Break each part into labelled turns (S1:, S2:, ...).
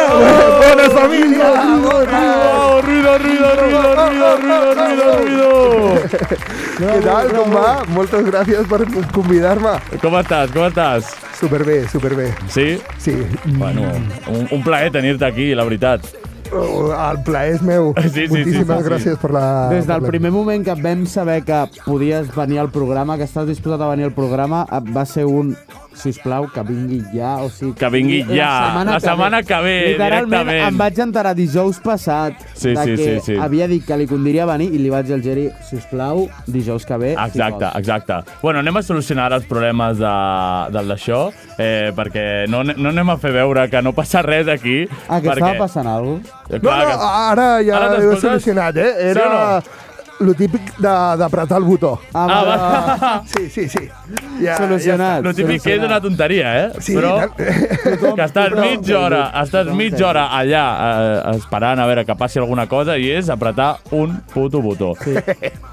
S1: Bona família!
S2: Oh, ruido, ruido, ruido, ruido, ruido, ruido, ruido!
S1: Què tal, com va? Moltes gràcies per convidar-me.
S2: Com estàs, com estàs?
S1: Superbé, superbé.
S2: Sí?
S1: Sí,
S2: Bueno, un, un plaer tenir-te aquí, la veritat.
S1: Oh, el plaer és meu.
S2: Sí, sí, sí,
S1: Moltíssimes
S2: sí, sí.
S1: gràcies per la...
S3: Des del
S1: per la-
S3: primer moment que et vam saber que podies venir al programa, que estàs disposat a venir al programa, et va ser un si us plau, que vingui ja, o sigui...
S2: Que vingui ja, la setmana que ve,
S3: Literalment,
S2: directament.
S3: em vaig enterar dijous passat
S2: Sí,
S3: de
S2: sí,
S3: que
S2: sí, sí.
S3: havia dit que li condiria venir i li vaig dir al Geri, si us plau, dijous que ve... si
S2: Exacte,
S3: vols."
S2: exacte. Bueno, anem a solucionar ara els problemes de, del d'això, eh, perquè no, no anem a fer veure que no passa res aquí.
S3: Ah, que
S2: perquè...
S3: estava passant alguna cosa?
S2: Eh,
S1: No,
S2: clar
S1: no,
S2: que-
S1: ara ja ho
S2: Ara
S1: he
S2: t'escoltes?
S1: solucionat, eh?
S2: Sí
S1: Era
S2: o no?
S1: lo típic de- d'apretar el botó.
S2: Ah, va.
S1: Sí, sí, sí. Ja,
S3: Solucionat.
S2: Lo típic que és una tonteria, eh?
S1: Sí,
S2: però
S1: tant.
S2: que estàs mitja hora, estàs mitja hora allà eh, esperant a veure que passi alguna cosa i és apretar un puto botó. Sí.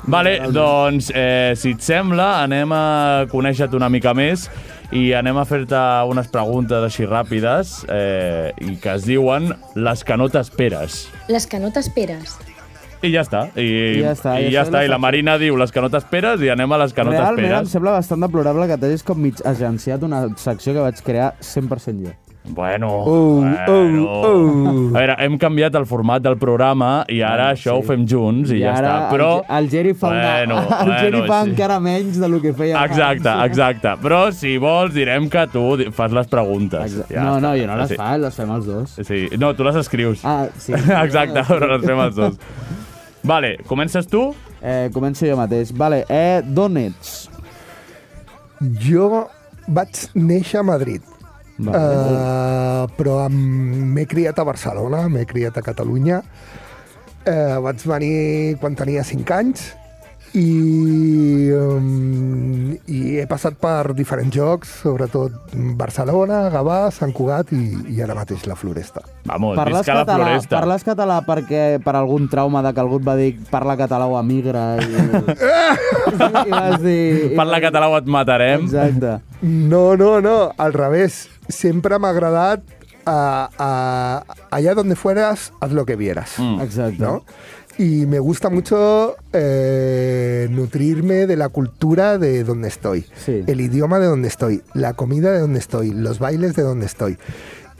S2: Vale, doncs, eh, si et sembla, anem a conèixer-te una mica més i anem a fer-te unes preguntes així ràpides eh, i que es diuen les que no t'esperes.
S4: Les que no t'esperes.
S2: I ja està. I,
S3: I ja està,
S2: I,
S3: i
S2: ja
S3: això
S2: està.
S3: les-
S2: I la Marina diu les que no t'esperes i anem a les que no
S3: Realment em
S2: t'esperes.
S3: sembla bastant deplorable que t'hagis com mig agenciat una secció que vaig crear 100% jo.
S2: Bueno,
S1: Oh,
S2: bueno.
S1: oh, oh.
S2: A veure, hem canviat el format del programa i ara això ho fem junts i, ja
S3: ara
S2: està. Però...
S3: el, Ge- el Geri fa,
S2: Bueno,
S3: una, el Geri
S2: bueno,
S3: fa
S2: sí.
S3: encara menys del que feia abans.
S2: Exacte, exacte. Però si vols direm que tu di- fas les preguntes.
S3: Exa-
S2: Ja
S3: no,
S2: està.
S3: no, jo no les
S2: sí.
S3: fa, les fem els dos.
S2: Sí. No, tu les escrius.
S3: Ah, sí.
S2: Exacte, però les fem els dos. Vale, comences tu?
S3: Eh, començo jo mateix. Vale, eh, d'on ets?
S1: Jo vaig néixer a Madrid.
S3: Vale.
S1: Uh, però em- m'he criat a Barcelona, m'he criat a Catalunya. Uh, vaig venir quan tenia 5 anys i, um, i he passat per diferents jocs, sobretot Barcelona, Gavà, Sant Cugat i, i ara mateix la Floresta.
S2: Vamos,
S3: Parles
S2: visca la
S3: català,
S2: floresta.
S3: parles català perquè per algun trauma de que algú et va dir parla català o emigra i, i vas dir... i
S2: Parla
S3: vas-
S2: català o et matarem.
S3: eh, Exacte.
S1: No, no, no, al revés. Sempre m'ha agradat a, a, allá donde fueras, haz lo que vieras.
S3: Mm.
S2: Mm.
S3: Exacte.
S1: ¿no? Y me gusta mucho eh, nutrirme de la cultura de donde estoy,
S3: Sí.
S1: el idioma de donde estoy, la comida de donde estoy, los bailes de donde estoy.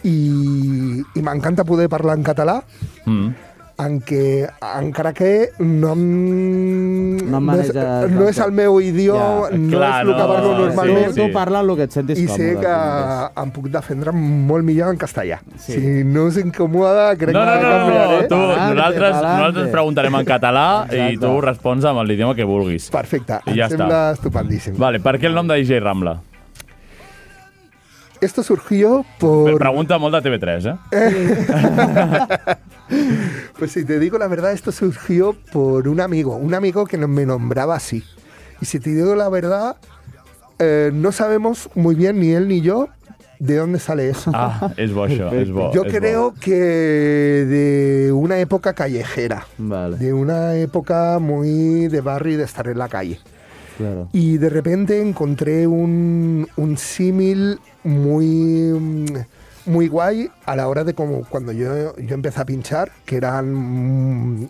S1: Y, y me encanta poder hablar en catalán.
S2: Mm.
S1: en què, encara que no, em-
S3: No em
S1: és,
S3: maneja
S1: no és
S3: tant.
S1: el meu idioma,
S3: Ja,
S1: no
S2: clar,
S1: és el que
S2: no,
S1: parlo
S2: sí,
S1: normalment,
S3: Eh, Tu, tu parla el que et sentis
S1: i
S3: còmode.
S1: sé que
S3: com vulguis.
S1: em puc defendre molt millor en castellà.
S3: Sí.
S1: Sí. Si no és incòmode, crec
S2: No, no,
S1: que
S2: no, no,
S3: eh?
S1: canviaré.
S2: tu,
S3: Palante,
S2: nosaltres,
S3: palante.
S2: nosaltres preguntarem en català i
S3: Exacte.
S2: tu respons amb l'idioma que vulguis.
S1: Perfecte,
S2: I
S1: em
S2: ja
S1: sembla estupendíssim.
S2: Vale, per què el nom de DJ Rambla?
S1: Esto surgió por...
S2: Pregunta molt de TV3, eh?
S1: Pues si te digo la verdad, esto surgió por un amigo, un amigo que no- me nombraba así. Y si te digo la verdad, eh, no sabemos muy bien ni él ni yo de dónde sale eso.
S2: Ah, és bo això, és bo.
S1: yo
S2: és
S1: creo que de una época callejera,
S3: Vale,
S1: de una época muy de barrio y de estar en la calle.
S3: claro.
S1: Y de repente encontré un, un símil muy, mm, muy guay a la hora de como cuando yo, yo empecé a pinchar, que eran mm,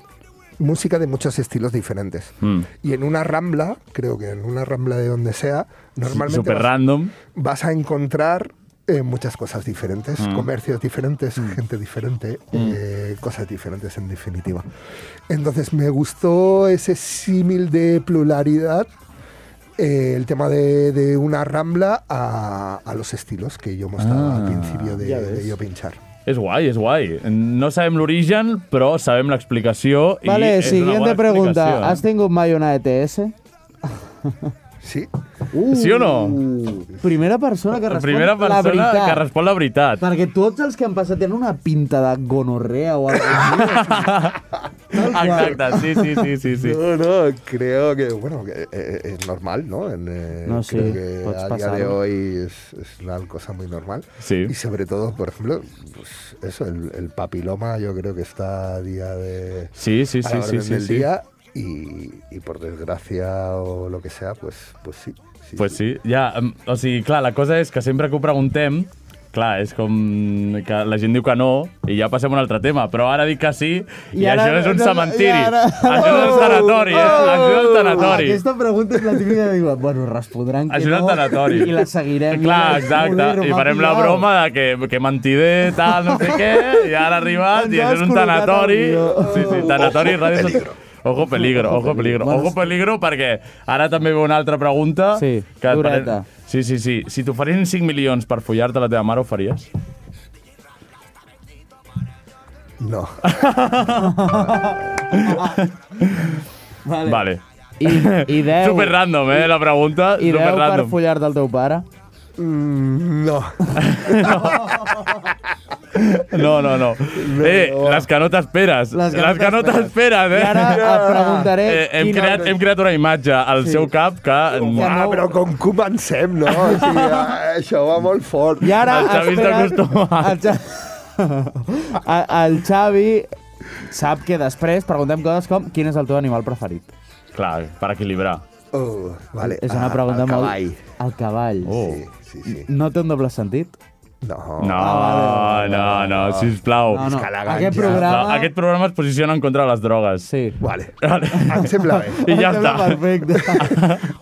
S1: música de muchos estilos diferentes.
S2: bo. Mm.
S1: Y en una rambla, creo que en una rambla de donde sea, normalmente
S2: Super
S1: vas,
S2: random.
S1: vas a encontrar eh, muchas cosas diferentes,
S3: Mm.
S1: comercios diferentes, gente diferente, eh, cosas diferentes en definitiva. Entonces me gustó ese símil de pluralidad, eh, el tema de, de una rambla a, a los estilos que yo mostraba al principio de,
S3: Ah. ya ves.
S1: de yo pinchar.
S2: És guai, és guai. No sabem l'origen, però sabem l'explicació. i
S3: Vale,
S2: és una
S3: siguiente
S2: bona
S3: pregunta.
S2: explicació, eh?
S3: ¿Has tenido mai una E ETS?
S1: Sí,
S2: Sí o no?
S3: Primera persona que respon
S2: Primera
S3: la
S2: persona
S3: veritat.
S2: que respon la veritat.
S3: Perquè tots els que han passat tenen una pinta de gonorrea o alguna
S2: Exacte, sí, sí, sí, sí. sí.
S1: No, no, creo que, bueno, que, eh, es normal, ¿no? En, eh,
S3: No, sí,
S1: creo que
S3: puedes
S1: a día de
S3: pasarlo.
S1: hoy es, es una cosa muy normal.
S2: Sí.
S1: Y sobre todo, por ejemplo, pues, eso, el, el papiloma yo creo que está a día de...
S2: Sí, sí,
S1: a la
S2: sí, sí,
S1: orden
S2: sí,
S1: del
S2: sí.
S1: día y, y por desgracia o lo que sea, pues, pues sí. sí,
S2: Pues sí, ja, em, o sigui, clar, la cosa és que sempre que ho preguntem, clar, és com que la gent diu que no i ja passem a un altre tema, però ara dic que sí i,
S3: I ara-
S2: això és un
S3: no, i
S2: cementiri,
S3: ara- Oh!
S2: això és un sanatori, eh? Això és un sanatori.
S3: Aquesta pregunta és la típica de dir, bueno, respondran que
S2: Això és
S3: no,
S2: un tanatori.
S3: i la seguirem.
S2: Clar, exacte. I farem la broma de que, que mentider, tal, no sé què, i ara ha arribat i
S3: Ens has
S2: és un
S3: col·locat
S2: tanatori.
S3: al guió.
S2: Sí, sí, tanatori. Ojo peligro. Ojo peligro, ojo peligro.
S3: Bueno,
S2: Ojo
S3: sí.
S2: peligro perquè ara també ve una altra pregunta.
S3: Sí,
S2: et
S3: dureta.
S2: farem- Sí, sí, sí. Si t'oferien 5 milions per follar-te la teva mare, ho faries?
S1: No.
S3: Vale.
S2: Vale.
S3: I, i 10,
S2: Super random, eh, la pregunta.
S3: i 10
S2: Super
S3: per
S2: random.
S3: follar del teu pare.
S1: Mm, no.
S2: No, no, no. Eh, les que no t'esperes. Les que no t'esperes, eh.
S3: I ara et preguntaré...
S2: Eh, hem,
S3: quina-
S2: creat, hem creat una imatge al sí. seu cap que...
S1: Ah, però com comencem, no? O sigui, ah, això va molt fort.
S3: I ara
S2: El Xavi està
S3: espera't-
S2: acostumat.
S3: El, Xa... el Xavi sap que després preguntem coses com quin és el teu animal preferit.
S2: Clar, per equilibrar.
S1: Oh, vale.
S3: És una
S1: Ah, el
S3: pregunta molt...
S1: cavall.
S3: El cavall.
S2: Oh.
S1: Sí, sí.
S3: No té un doble sentit?
S1: No.
S2: No, no, no, sisplau.
S3: No, no.
S1: Oh, que la
S3: Aquest
S1: ganja.
S3: programa...
S2: No, Aquest programa es posiciona en contra de les drogues.
S3: Sí.
S1: Vale.
S2: Vale.
S1: Em sembla bé.
S2: I ja
S3: Em
S2: està.
S3: sembla Perfecte.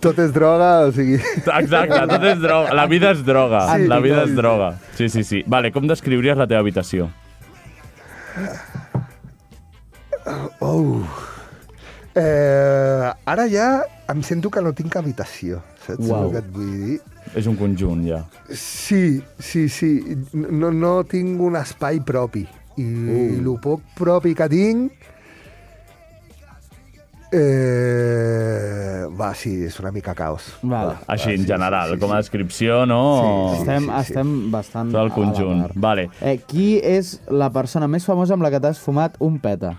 S1: Tot és droga, o sigui...
S2: Exacte, tot és droga. La vida és droga.
S3: Sí,
S2: la vida és
S3: total.
S2: droga. Sí, sí, sí. Vale, com descriuries la teva habitació?
S1: Oh. Eh, ara ja em sento que no tinc habitació, saps
S3: Uau.
S1: el que et vull dir?
S2: És un conjunt, ja.
S1: Sí, sí, sí. No, no tinc un espai propi. I el poc propi que tinc... Eh, va, sí, és una mica caos.
S3: Vale.
S2: Així, en general,
S1: sí,
S2: com a
S1: sí.
S2: descripció, no?
S1: Oh, Sí, sí.
S3: Estem, estem bastant...
S2: Tot
S3: a
S2: el
S3: la
S2: conjunt.
S3: mar.
S2: Vale.
S3: Eh, qui és la persona més famosa amb la que t'has fumat un peta?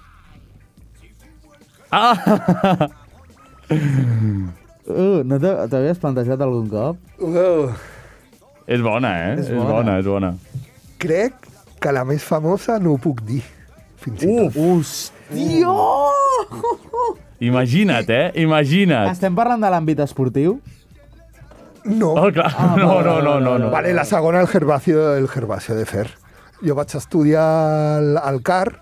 S2: Ah!
S3: Uh, no te- t'havies plantejat algun cop?
S1: Wow.
S2: És bona, eh? És
S3: bona.
S2: bona, és bona.
S1: Crec que la més famosa no ho puc dir. Fins i tot.
S3: Hòstia!
S2: Imagina't, eh? Imagina't.
S3: Estem parlant de l'àmbit esportiu?
S1: No.
S2: Oh, clar. No, no, no, no. no.
S1: Vale, la segona, el gervacio, el gervacio de Fer. Jo vaig estudiar al, al CAR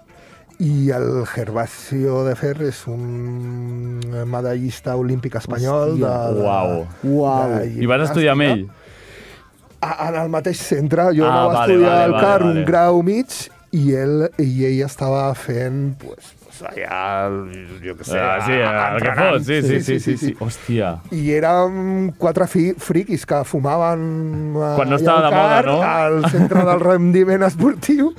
S1: i el Gervasio de Fer és un medallista olímpic espanyol de, de,
S2: Uau.
S3: Uau.
S1: de
S2: I vas estudiar amb ell?
S1: A, en el mateix centre. Jo ah, no
S2: Ah,
S1: vaig
S2: vale,
S1: estudiar
S2: vale,
S1: al
S2: vale,
S1: CAR
S2: vale.
S1: un grau mig i, ell, i ell estava fent, pues, no sé, allà, jo què sé,
S2: Ah, sí,
S1: a-
S2: el que
S1: entrenant.
S2: fos, sí, sí, sí, sí, sí. Hòstia.
S1: I érem quatre fi, friquis que fumaven... eh,
S2: Quan no
S1: allà al
S2: estava de moda,
S1: car,
S2: no?
S1: Al centre del rendiment esportiu,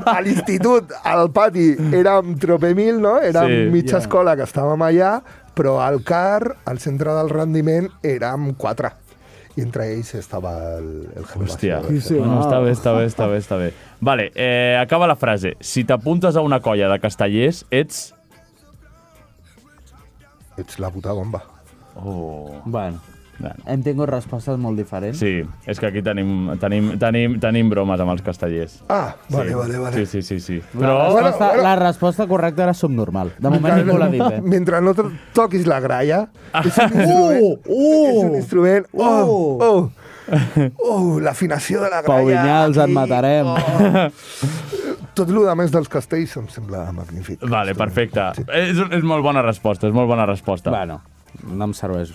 S1: a l'institut, al pati, érem tropemil, no? Érem
S2: Sí,
S1: sí, mitja
S3: ja.
S1: yeah. escola que estàvem allà, però al car, al centre del rendiment, érem quatre. I entre ells estava el, el Gervasio.
S2: Hòstia.
S1: Sí, sí.
S2: Bueno, està bé, està bé, està bé, està bé. Vale, eh, acaba la frase. Si t'apuntes a una colla de castellers, ets...
S1: Ets la puta bomba.
S2: Oh.
S3: Bueno,
S2: Bueno.
S3: hem tingut respostes molt diferents.
S2: Sí, és que aquí tenim, tenim, tenim, tenim bromes amb els castellers.
S1: Ah, vale,
S2: sí.
S1: sí. vale, vale.
S2: Sí, sí, sí, sí.
S3: La,
S2: Però...
S3: resposta,
S1: Bueno, bueno.
S3: la resposta correcta era subnormal. De moment ningú l'ha dit, eh?
S1: Mentre no to- toquis la gralla, és un
S3: Uh,
S1: instrument...
S3: uh.
S1: és un instrument... Oh,
S3: Uh.
S1: oh, oh, l'afinació de la gralla...
S3: Pau Vinyals, et
S1: aquí.
S3: matarem.
S2: Oh.
S1: Tot el més dels castells em sembla magnífic.
S2: Vale, perfecte. És, és molt bona resposta, és molt bona resposta.
S3: Bueno, no em serveix.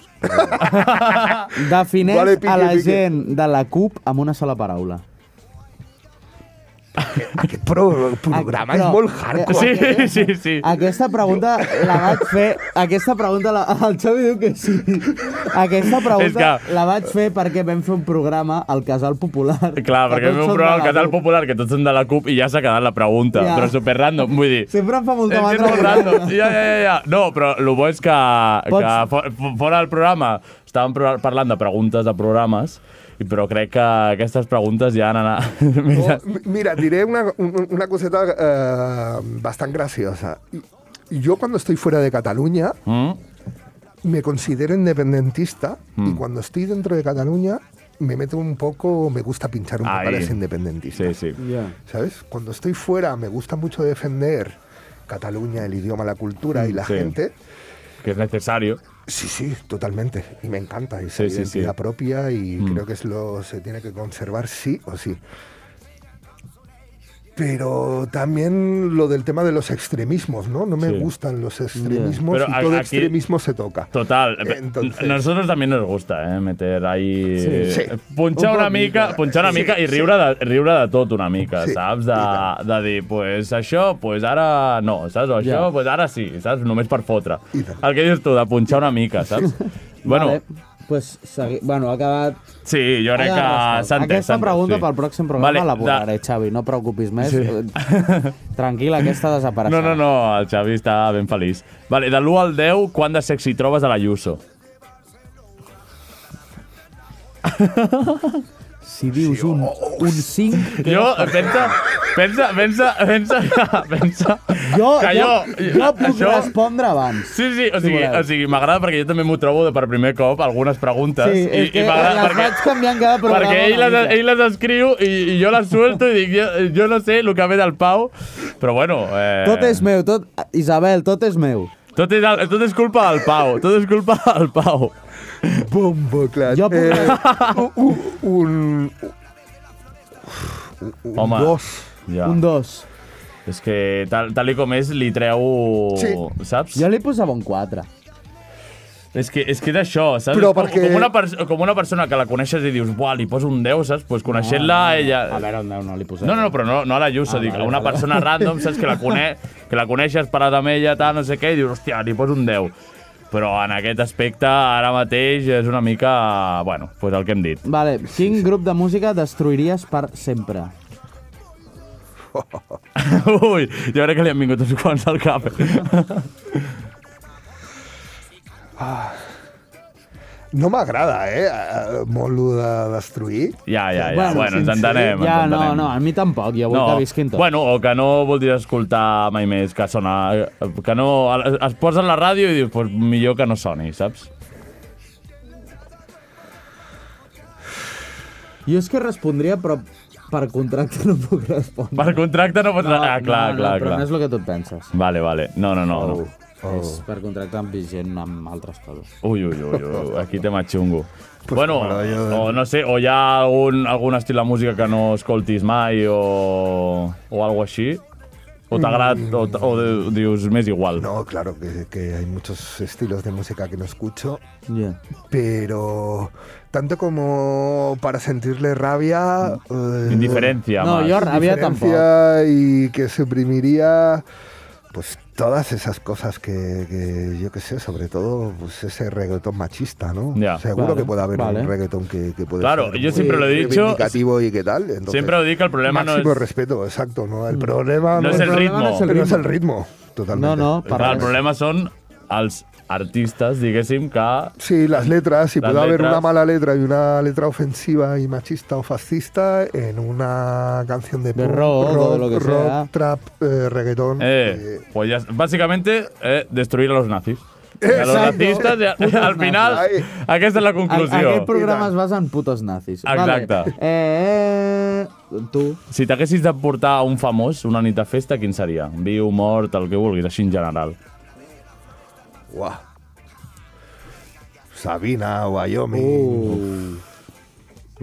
S3: Defineix
S1: Vale,
S3: vale,
S1: pique,
S3: a la
S1: pique.
S3: gent de la CUP amb una sola paraula.
S1: Aquest pro programa
S3: Ah, Però-
S1: és molt hardcore.
S2: Sí, sí, sí.
S3: Aquesta pregunta la vaig fer... Aquesta pregunta... La, el Xavi diu que sí. Aquesta pregunta
S2: És que-
S3: la vaig fer perquè vam fer un programa al Casal Popular.
S2: Clar,
S3: que
S2: perquè
S3: tots
S2: vam
S3: són
S2: provar el
S3: de la
S2: casal
S3: CUP.
S2: popular, que tots són de la CUP, i ja s'ha quedat la pregunta.
S3: Ja.
S2: Però super random, vull dir...
S3: Sempre em fa molta
S2: És que és
S3: mandra.
S2: molt random. Ja, ja, ja, ja. No, però el bo és que,
S3: Pots-
S2: que fo- fo- fora del programa estàvem pro- parlant de preguntes de programes, i- però crec que aquestes preguntes ja han anat... Mira,
S1: Oh, mi- Mira, diré una, un- una coseta eh, bastant graciosa. Yo cuando estoy fuera de Cataluña
S2: Mm?
S1: me considero independentista y cuando estoy dentro de Cataluña me meto un poco, me gusta pinchar un poco a
S2: Ahí.
S1: los independentistas.
S2: Sí, sí.
S3: Ja.
S1: ¿Sabes? Cuando estoy fuera me gusta mucho defender Cataluña, el idioma, la cultura y la
S2: Mm, sí.
S1: gente.
S2: Que és necessari.
S1: Sí, sí, totalmente. Y me encanta esa
S2: Sí, sí, Mm.
S1: identidad
S2: sí.
S1: propia y creo que es lo se tiene que conservar sí o sí. Pero también lo del tema de los extremismos, ¿no? No me
S2: Sí.
S1: gustan los extremismos
S2: Pero
S1: y todo
S2: aquí-
S1: extremismo se toca.
S2: Total.
S1: Eh, Entonces-
S2: Nosotros también nos gusta, eh, meter ahí...
S1: Sí. Sí.
S2: Punxar
S1: Un
S2: una
S1: poc
S2: mica,
S1: mica.
S2: punxar una
S1: Sí,
S2: mica i
S1: sí.
S2: riure de, riure de tot una mica,
S1: Sí,
S2: saps? De,
S1: i
S2: de dir, pues això, pues ara no, saps? O això,
S3: Ja.
S2: pues ara sí, saps? Només per fotre.
S1: I tant.
S2: El que dius tu, de punxar una mica, saps? bueno,
S3: Vale. Pues segui... Bueno, ha acabat...
S2: sí, jo crec que
S3: ha
S2: s'ha
S3: respost.
S2: entès.
S3: Aquesta
S2: s'ha entès,
S3: pregunta
S2: sí.
S3: pel pròxim programa
S2: Vale,
S3: la
S2: de-
S3: borraré, Xavi, no et preocupis més. Tranquil, aquesta desapareixerà.
S2: No, no, no, el Xavi està ben feliç. Vale, de l'1 al 10, quant de sexy trobes a la Yuso?
S3: Si dius un,
S2: oh,
S3: un 5...
S2: Jo, pensa, pensa, pensa, pensa, pensa,
S3: Jo,
S2: que
S3: jo,
S2: jo,
S3: jo puc
S2: això-
S3: respondre abans.
S2: Sí, sí, o sigui,
S3: voleu.
S2: o sigui m'agrada perquè jo també m'ho trobo de per primer cop, algunes preguntes.
S3: Sí, és que les vaig canviant cada programa
S2: Perquè ell
S3: una
S2: les,
S3: mica.
S2: ell les escriu i, i jo les suelto i dic, jo, jo no sé el que ve del Pau, però bueno... Eh,
S3: Tot és meu, tot... Isabel, tot és meu.
S2: Tot és, el- tot és culpa del Pau, tot és culpa del Pau.
S1: Bombo, claro.
S3: Jo
S2: Eh,
S3: puc-
S2: uh.
S1: un, un, un
S2: Home,
S1: dos.
S2: Ja.
S3: Un 2.
S2: És que tal, tal i com és, li treu...
S1: Sí.
S2: Saps?
S3: Jo li posava un 4.
S2: És que és, que és això, saps?
S1: Però
S2: És com,
S1: perquè-
S2: com, una pers- com una persona que la coneixes i dius, buah, li poso un 10, saps? Pues coneixent-la, ella...
S3: A veure, un 10 no li posava.
S2: No, no, no, però no, no a la Lluça, ah, dic,
S3: vale,
S2: a una
S3: vale.
S2: persona random, saps, que la, cone que la coneixes, parat amb ella, tal, no sé què, i dius, hòstia, li poso un 10. Però en aquest aspecte, ara mateix, és una mica... Bueno, pues el que hem dit.
S3: Vale, quin grup de música destruiries per sempre?
S2: Ui, jo crec que li han vingut uns quants al cap.
S1: No m'agrada, eh? eh, Molt lo de destruir.
S2: ja, ja, ja. Bueno, bueno ens
S1: sincer,
S2: entenem,
S3: Ja,
S2: ens
S3: no,
S2: entenem.
S3: no, a mi tampoc, jo vull
S2: No.
S3: que visquin tot.
S2: Bueno, o que no vulguis escoltar mai més que sona... eh, Que no... Es posa la ràdio i dius, pues millor que no soni, saps?
S3: Jo és que respondria, però per contracte no puc respondre.
S2: Per contracte no pots...
S3: No,
S2: ah, clar,
S3: no,
S2: clar,
S3: no, però
S2: clar.
S3: no és el que tu et penses.
S2: Vale, vale. No, no, no. no.
S3: Oh. És per contracte amb vigent amb altres coses.
S2: Ui, ui, ui, ui, aquí tema xungo. Pues bueno, o no sé, o hi ha algun, algun estil de música que no escoltis mai o, o algo així. O t'agrada,
S3: Mm.
S2: o, t- o de- dius, m'és igual.
S1: No, claro que, que hay muchos estilos de música que no escucho,
S3: Yeah.
S1: pero tanto como para sentirle rabia... eh,
S2: Indiferència,
S3: No,
S2: no,
S3: jo rabia tampoc.
S1: indiferencia Y que suprimiría pues todas esas cosas que, que, yo qué sé, sobre todo pues ese reggaetón machista, ¿no?
S2: Ya.
S1: Seguro
S3: Vale,
S1: que puede haber
S3: vale.
S1: un reggaetón que, que puede
S2: Claro,
S1: ser
S2: yo
S1: muy
S2: siempre lo he dicho,
S1: reivindicativo y qué tal. Entonces,
S2: Sempre ho dic, el problema no
S1: máximo
S2: és...
S1: respeto, exacto, ¿no? El problema
S2: No es el
S1: problema,
S2: ritmo.
S1: pero no es el ritmo,
S3: Mm. No,
S1: totalmente.
S3: no, per
S2: Clar, el
S3: res.
S2: problema són els artistes, diguéssim, que...
S1: Sí, las letras, si
S2: Las
S1: puede haber
S2: letras.
S1: una mala letra y una letra ofensiva y machista o fascista en una canción de,
S3: De
S1: pop,
S3: rock o de lo que
S1: rock,
S3: sea.
S1: trap, eh, reggaetón,
S2: Eh, pues ya, básicamente, eh, destruir a los nazis. A los
S3: Exacto.
S2: nazistes, eh, al final,
S1: nazis.
S2: aquesta és la
S3: A- Aquest
S2: conclusió.
S3: programa
S1: I tant.
S3: es basa en putos nazis.
S2: Exacte.
S3: Vale. Eh, tu.
S2: Si t'haguessis de portar un famós una nit de festa, quin seria? Viu, mort, el que vulguis, així en general.
S1: Guau. Sabina, Wyoming,
S3: Uh.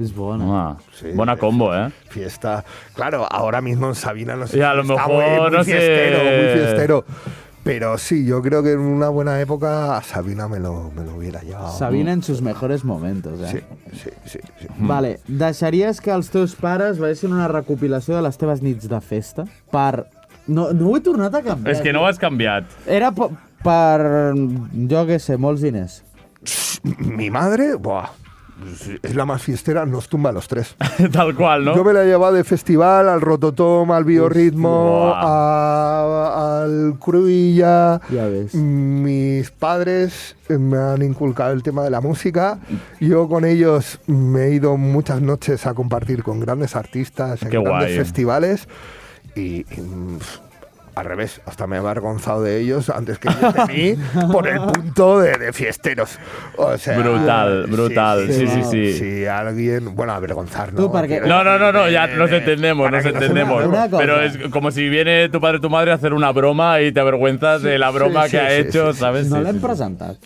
S3: És bona.
S2: Ah,
S1: Sí.
S2: bona combo, eh?
S1: fiesta. Claro, ahora mismo en Sabina no sé.
S2: Y a lo
S1: está
S2: mejor,
S1: muy, muy
S2: no sé.
S1: fiestero, muy fiestero. Pero sí, yo creo que en una buena época a Sabina me lo, me lo hubiera llevado.
S3: Sabina en sus mejores momentos, eh?
S1: Sí, sí, sí. sí.
S2: Mm.
S3: Vale, deixaries que els teus pares veiessin una recopilació de les teves nits de festa per... No, no ho he tornat a canviar.
S2: És que no ho has canviat.
S3: Era po- per, jo què sé, molts diners.
S1: Mi madre, buah, es la más fiestera, nos tumba a los tres.
S2: Tal qual,
S1: Yo
S2: no?
S1: me la he llevado de festival al rototom, al biorritmo,
S2: Hostia.
S1: a- al cruilla. Mm,
S3: Ya ves.
S1: Mis padres eh, me han inculcado el tema de la música. Yo con ellos me he ido muchas noches a compartir con grandes artistas en
S2: Qué
S1: grandes
S2: guay. ¿eh?
S1: festivales. Y, y, mm, pf, al revés, hasta me he avergonzado de ellos antes que ellos de mí por el punto de, de fiesteros. O sea,
S2: Brutal, brutal. Sí,
S3: sí,
S2: sí.
S1: Si alguien, bueno, avergonzar, ¿no?
S3: Tú, porque-
S2: No, no, no, no, ya nos entendemos,
S1: Para
S2: nos
S1: que nos
S2: entendemos.
S3: entendamos.
S2: Pero es como si viene tu padre o tu madre a hacer una broma y te avergüenzas de la broma
S1: sí,
S2: que ha
S1: sí,
S2: hecho,
S1: sí, sí.
S2: ¿sabes?
S3: No
S2: Sí,
S3: l'hem
S2: sí, sí.
S3: presentat.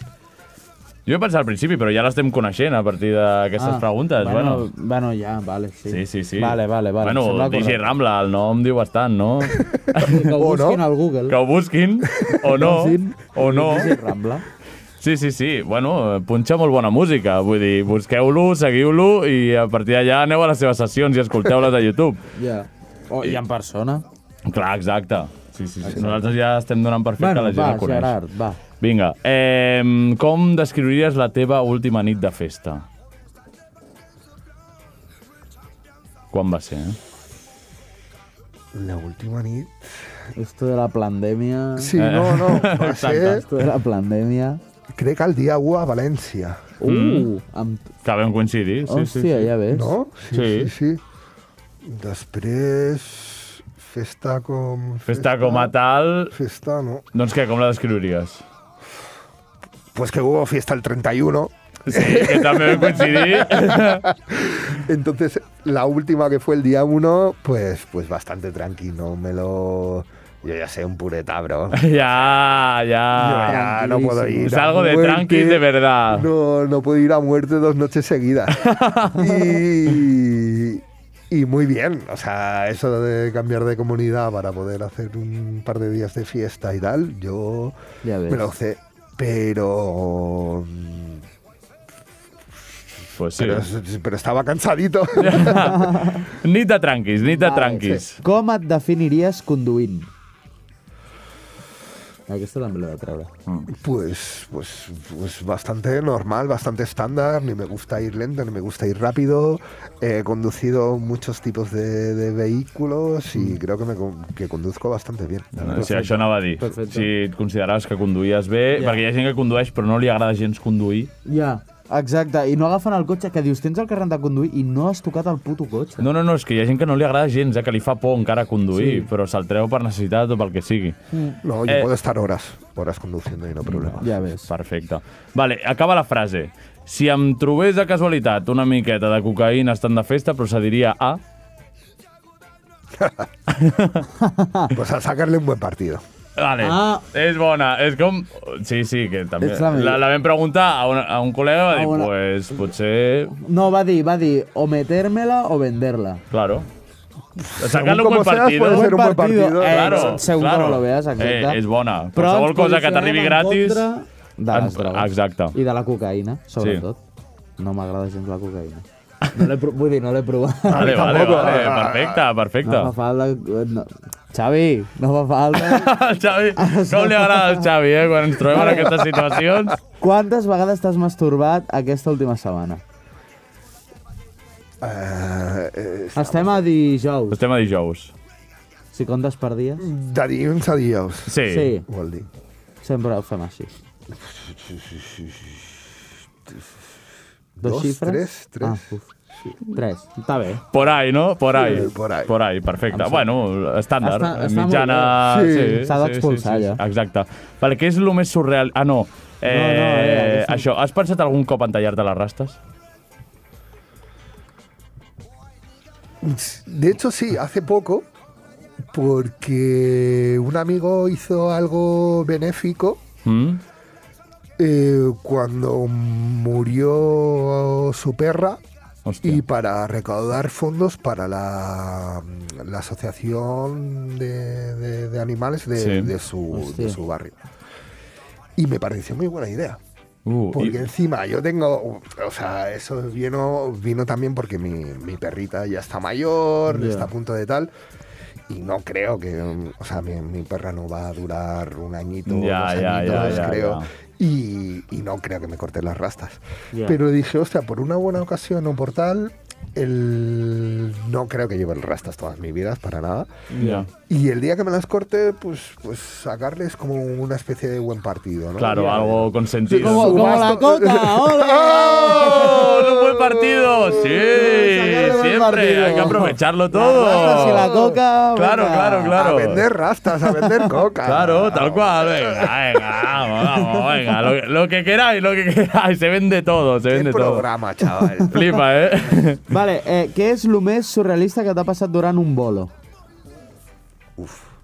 S2: Jo he pensat al principi, però ja l'estem coneixent a partir d'aquestes ah, preguntes. Bueno,
S3: Bueno, bueno, ja, vale, sí.
S2: sí, sí, sí.
S3: Vale, vale, vale. em
S2: Bueno,
S3: sembla
S2: DJ
S3: correcte.
S2: Rambla, el nom diu bastant, no?
S3: Que
S1: O no.
S3: ho busquin al Google.
S2: que ho busquin, o no,
S3: Busquin
S2: o no.
S3: DJ Rambla.
S2: Sí, sí, sí. Bueno, eh, punxa molt bona música. Vull dir, busqueu-lo, seguiu-lo i a partir d'allà aneu a les seves sessions i escolteu-les a YouTube.
S3: Ja. O, I en persona.
S2: Clar, exacte. Sí, sí, sí. Nosaltres ja estem donant per fet que
S3: Bueno,
S2: la gent
S3: va,
S2: el coneix.
S3: Gerard, va.
S2: Vinga, eh, com descriuries la teva última nit de festa? Quan va ser, eh?
S1: La última nit.
S3: Esto de la pandèmia...
S2: Eh.
S1: Sí, no, no. Va ser,
S3: Esto de la pandèmia...
S1: crec que el dia 1 a València,
S3: Uh, mm. amb...
S2: Que vam coincidir, sí,
S3: Hòstia,
S2: sí, sí.
S3: ja ves.
S1: no?
S2: Sí.
S1: sí, sí. Després, festa com...
S2: Festa com a tal...
S1: Festa, no.
S2: Doncs què, com la descriuries?
S1: Pues que hubo fiesta el 31.
S2: Sí, que també vam coincidir.
S1: Entonces, la última que fue el día 1, pues, pues bastante tranqui, no me lo... Yo ya sé, un pureta, bro.
S2: ja, ja...
S1: Ya, no puedo ir.
S2: Es
S1: a
S2: algo de
S1: muerte.
S2: tranquis de verdad.
S1: No, no puedo ir a muerte dos noches seguidas. y, y muy bien. O sea, eso de cambiar de comunidad para poder hacer un par de días de fiesta y tal, yo
S3: Ja ves.
S1: me lo sé. Pero.
S2: Pues sí.
S1: Pero, pero estaba cansadito.
S2: Nit de tranquis, nit de tranquis.
S3: Ah, Com et definiries conduint? Aquesta també l'he de treure.
S1: Pues, pues, pues bastante normal, bastante estándar. Ni me gusta ir lento, ni me gusta ir rápido. He conducido muchos tipos de, de vehículos y creo que, me, con- que conduzco bastante bien. la verdad.
S2: Sí, això anava a dir.
S3: Perfecte.
S2: Si et consideraves que conduïes bé,
S3: Ja.
S2: perquè hi ha gent que condueix però no li agrada gens conduir.
S3: Ja, exacte. I no agafen el cotxe, que dius, tens el carnet de conduir i no has tocat el puto cotxe.
S2: No, no, no, és que hi ha gent que no li agrada gens, eh, que li fa por encara conduir, sí. però se'l treu per necessitat o pel que sigui.
S3: Mm.
S1: No, yo
S2: Eh.
S1: puedo estar horas, horas conduciendo y no problema.
S3: Ja ves.
S2: Perfecte. Vale, acaba la frase. Si em trobés de casualitat una miqueta de cocaïna estant de festa, procediria a...
S1: Pues a sacarle un buen partido.
S2: Vale,
S3: Ah.
S2: és bona. És com... Sí, sí, que també...
S3: Ets la millor.
S2: La, la vam preguntar a, una, a un col·lega, va
S3: A
S2: dir,
S3: una-
S2: pues, potser...
S3: No, va dir, va dir, o meter-me-la o vender-la.
S2: Claro. Sacar un
S1: com
S2: buen
S1: ho seas,
S2: partido.
S1: puede ser un buen partido.
S3: Eh,
S2: Claro,
S3: segons
S2: claro.
S3: com lo veas, exacte.
S2: Eh, és bona.
S3: Però
S2: Qualsevol
S3: ens
S2: cosa que
S3: posicionem
S2: t'arribi
S3: en
S2: gratis,
S3: contra De
S2: ens-
S3: les drogues.
S2: exacte.
S3: I de la cocaïna, sobretot. No m'agrada gens la cocaïna. No l'he pro- vull dir, no l'he provat.
S2: Vale, vale,
S1: tampoc,
S2: vale.
S1: eh,
S2: Perfecte, perfecte.
S3: No fa falta... eh, No. Xavi, Ah, no fa falta...
S2: El Xavi, com li agrada al Xavi, eh, quan ens trobem en aquestes situacions.
S3: Quantes vegades t'has masturbat aquesta última setmana?
S1: Eh, eh,
S3: Estem a dijous.
S2: Estem a dijous.
S3: Si comptes per dia,
S1: de dilluns a dijous,
S2: Sí.
S3: sí.
S1: vol dir.
S3: Sempre ho fem així. Dos,
S1: Dos,
S3: xifres?
S1: tres, tres.
S3: Ah, uf. Tres, està bé.
S2: Por ahí, no? Por ahí.
S1: Sí, por ahí.
S2: Por ahí, perfecte. Bueno, estàndard.
S3: Està- està
S2: mitjana...
S1: molt bé. Sí,
S3: s'ha d'expulsar, ja.
S2: Exacte. Perquè és el més surreal... Ah, no. Eh,
S3: eh, aquesta-
S2: això, has pensat algun cop en tallar-te les rastes?
S1: De hecho, sí, hace poco, porque un amigo hizo algo benéfico
S2: Mm?
S1: eh, cuando murió su perra
S2: Hòstia.
S1: y para recaudar fondos para la, mm, la asociación de, de- de animales de,
S2: Sí.
S1: de su, de
S3: Hostia.
S1: su barrio. Y me pareció muy buena idea.
S2: Uh,
S1: Porque
S2: i,
S1: encima yo tengo, o sea, eso vino, vino también porque mi, mi perrita ya está mayor,
S3: Ya.
S1: está a punto de tal. Y no creo que, o sea, mi, mi perra no va a durar un añito,
S2: Ya,
S1: dos
S2: ya,
S1: añitos,
S2: ya, ya,
S1: creo.
S2: ya.
S1: Y, y no creo que me corten las rastas.
S3: Ya.
S1: Pero dije, hostia, por una buena ocasión o por tal, el... no creo que lleve el rastas todas mis vidas, para nada.
S2: ja.
S1: Y el día que me las corte, pues, pues sacarles como una especie de buen partido, ¿no?
S2: Claro,
S1: Ya.
S2: algo consentido.
S3: Como,
S1: Subasto-
S3: como la cota,
S2: ¡Oh!
S3: ole!
S2: ¡Un buen partido! Sí,
S3: Sacarle buen
S2: siempre.
S3: partido.
S2: Hay que aprovecharlo
S3: rastas y
S2: todo.
S3: la coca,
S2: Claro,
S3: venga.
S2: claro, claro.
S1: A vender rastas, a vender coca.
S2: Claro, tal cual. Venga, venga, vamos, vamos, venga. Lo, que- lo que queráis, lo que queráis. Se vende todo, se
S1: Qué
S2: vende todo.
S1: programa, chaval.
S2: Flipa, ¿eh?
S3: Vale, eh, què és el més surrealista que t'ha passat durant un bolo?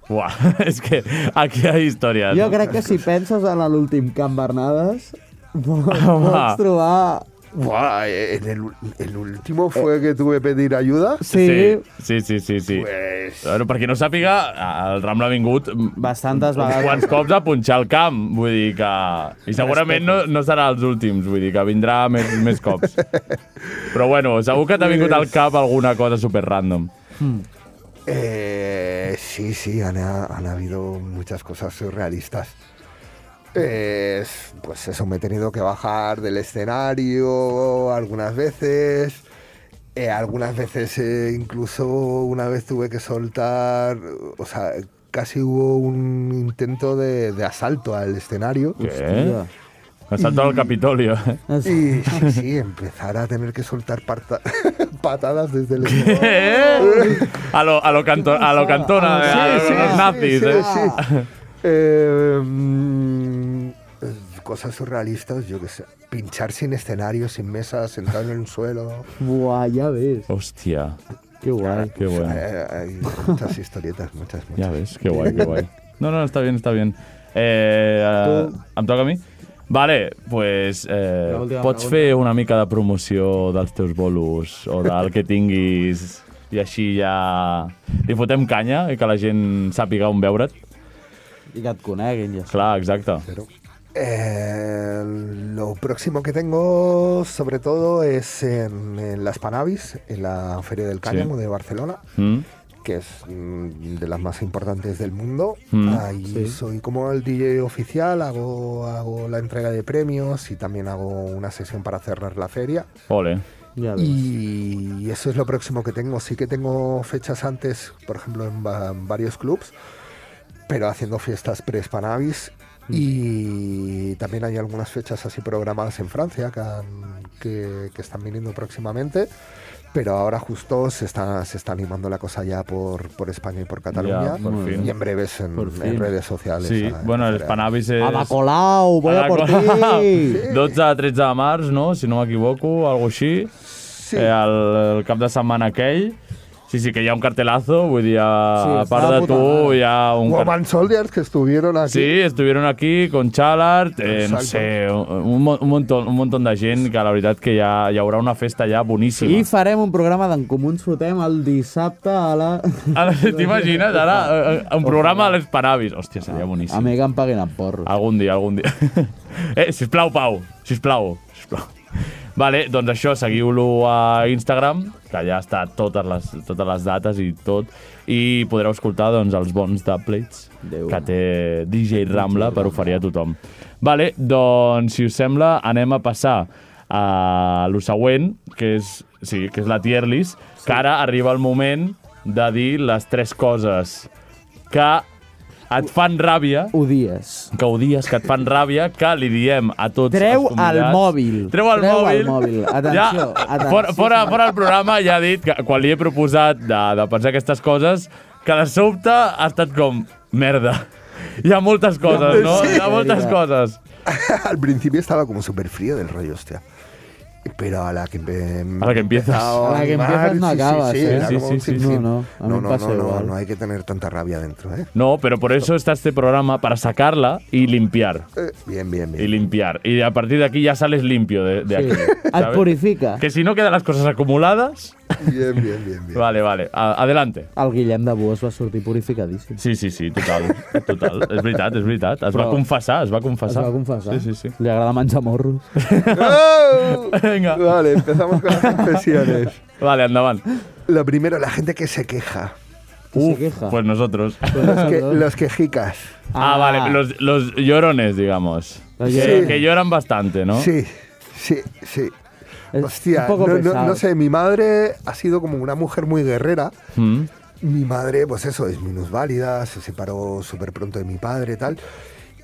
S2: Buah, es que aquí hay historias.
S3: Jo
S2: ¿no?
S3: crec que si penses en l'últim Can Bernades, pots
S2: Home.
S3: trobar...
S1: Buah, en el, el último fue que tuve que pedir ayuda.
S3: Sí,
S2: Sí, sí, sí, sí. Ah,
S1: Pues.
S2: Bueno, per qui no sàpiga, el Ramla ha vingut
S3: bastantes
S2: mm, quants
S3: vegades.
S2: cops a punxar el camp, vull dir que... I segurament no, no serà els últims, vull dir que vindrà més, més cops. Però bueno, segur que t'ha vingut al cap alguna cosa super random.
S1: eh, sí, sí, han, han habido muchas cosas surrealistas. Eh, pues eso, me he tenido que bajar del escenario algunas veces. Eh, algunas veces eh, incluso una vez tuve que soltar, o sea, casi hubo un intento de, de asalto al escenario.
S2: Què? Ha saltat al Capitolio.
S1: Y sí, sí, empezar a tener que soltar parta- patadas desde el
S2: Eh? A lo, a lo, canto, a lo cantona, eh, a
S1: Sí,
S2: los
S1: sí,
S2: nazis,
S1: sí,
S2: eh?
S1: sí. Eh, mm, cosas surrealistas, yo qué sé. Pinchar sin escenario, sin mesa, sentado en el suelo.
S3: Buah, ja ves.
S2: Hòstia,
S3: Que guai.
S2: que bueno.
S1: Eh, hay muchas historietas, muchas, muchas.
S2: Ya ves, qué guay, qué guay. No, no, está bien, está bien. Eh, em toca a mi? Vale, pues, eh,
S3: La última
S2: pots
S3: pregunta.
S2: fer una mica de promoció dels teus bolos o del que tinguis i així ja li fotem canya i que la gent sàpiga on veure't?
S3: I que et coneguin, ja.
S2: Clar, exacte.
S1: Pero, eh, lo próximo que tengo, sobre todo, es en, en las Panavis, en la Feria del Cáñamo de Barcelona.
S2: Mm?
S1: que es mm, de las más importantes del mundo.
S2: Mm.
S1: Ahí soy como el DJ oficial, hago, hago la entrega de premios y también hago una sesión para cerrar la feria.
S2: Ole.
S3: Ja ves.
S1: Y eso es lo próximo que tengo. Sí que tengo fechas antes, por ejemplo, en, va- en varios clubs, pero haciendo fiestas pre-Spanavis.
S2: Mm.
S1: Y también hay algunas fechas así programadas en Francia que, han- que- que están viniendo próximamente. Pero ahora justo se está, se está animando la cosa ya por, por España y por Cataluña.
S2: por
S1: y
S2: fin.
S1: en breves en,
S3: Por
S1: en
S3: fin.
S1: redes sociales.
S2: Sí,
S1: a-
S2: bueno,
S1: a-
S2: el Spanavis és...
S3: A la Colau, voy a por ti!
S2: Sí. 12 a 13 de març, no? Si no m'equivoco, alguna així.
S1: Sí.
S2: Eh, el, el cap de setmana aquell. Sí, sí, que hi ha un cartelazo, vull dir, a,
S3: Sí,
S2: a part
S5: està
S2: de
S5: de
S2: tu,
S5: puta mare.
S2: hi ha un...
S5: O
S2: car-
S5: Van Soldiers, que estuvieron aquí.
S2: Sí, estuvieron aquí con Chalart, eh, no
S5: Exacte.
S2: sé, un, mo- un, montón, un montón de gent que la veritat que hi, ha, hi haurà una festa ja boníssima.
S3: I farem un programa d'en Comuns Fotem el dissabte a la...
S2: Ara, T'imagines, ara, eh, eh, un programa a les Panavis. Hòstia, seria
S3: A
S2: boníssim.
S3: mi que em paguin en porro.
S2: Algun dia, algun dia. Eh, sisplau, Pau, sisplau, sisplau. Vale, doncs això, seguiu-lo a Instagram, que ja està totes les, totes les dates i tot, i podreu escoltar doncs, els bons tablets
S3: Déu.
S2: que té DJ Rambla per oferir a tothom. Vale, doncs, si us sembla, anem a passar a lo següent, que és, sí, que és la tier list, sí. que ara arriba el moment de dir les tres coses que et fan ràbia
S3: Odies.
S2: que odies, que et fan ràbia, que li diem a tots
S3: Treu
S2: els convidats.
S3: el mòbil.
S2: Treu el
S3: Treu
S2: mòbil.
S3: el mòbil. Atenció,
S2: ja,
S3: atenció.
S2: Fora, fora, fora el programa ja ha dit que quan li he proposat de, de pensar aquestes coses, que de sobte ha estat com, merda, hi ha moltes coses, no? Hi ha moltes coses.
S1: Al principio estaba como súper frío del rollo, hostia. Pero a la que, empe-
S2: A la que empiezas.
S1: empezado
S3: A la que
S1: animar,
S3: empiezas no
S1: sí, sí,
S3: acabas,
S1: sí,
S3: ¿eh?
S1: era
S2: Sí,
S1: como
S2: sí,
S1: un
S2: sí, sí.
S1: sinfín.
S3: No, no, a mí
S1: no,
S3: me pasa
S1: no, no,
S3: igual.
S1: no hay que tener tanta rabia dentro, ¿eh?
S2: No, pero por eso está este programa, para sacarla y limpiar.
S1: Eh, Bien, bien,
S2: Y
S1: bien.
S2: limpiar. Y a partir de aquí ya sales limpio de, de aquí.
S3: Et
S2: ¿sabes?
S3: purifica.
S2: Que si no quedan las cosas acumuladas.
S1: Bien, bien, bien, bien.
S2: Vale, vale. A- adelante.
S3: El Guillem de Boas va sortir purificadíssim.
S2: Sí, sí, sí, total, total. és veritat, és veritat. Es va
S3: Però-
S2: confessar, es va
S3: Es
S2: confessar.
S3: va confessar.
S2: Sí, sí, sí.
S3: Li agrada menjar morros.
S1: ¡Oh!
S2: Venga.
S1: Vale, empezamos con las confesiones.
S2: Vale, endavant.
S1: Lo primero, la gente que se queja.
S3: se
S2: Uf,
S3: queja.
S2: pues nosotros.
S1: Los, que- los quejicas.
S2: Ah, vale, los, los llorones, digamos.
S3: Los
S2: Que-
S1: llorones.
S2: Que lloran bastante, ¿no?
S1: Sí, sí, sí.
S3: Es
S1: Hostia,
S3: un poco
S1: no, no-
S3: pesado.
S1: no sé, mi madre ha sido como una mujer muy guerrera.
S2: Mm.
S1: Mi madre, pues eso, es minusválida, se separó súper pronto de mi padre, tal.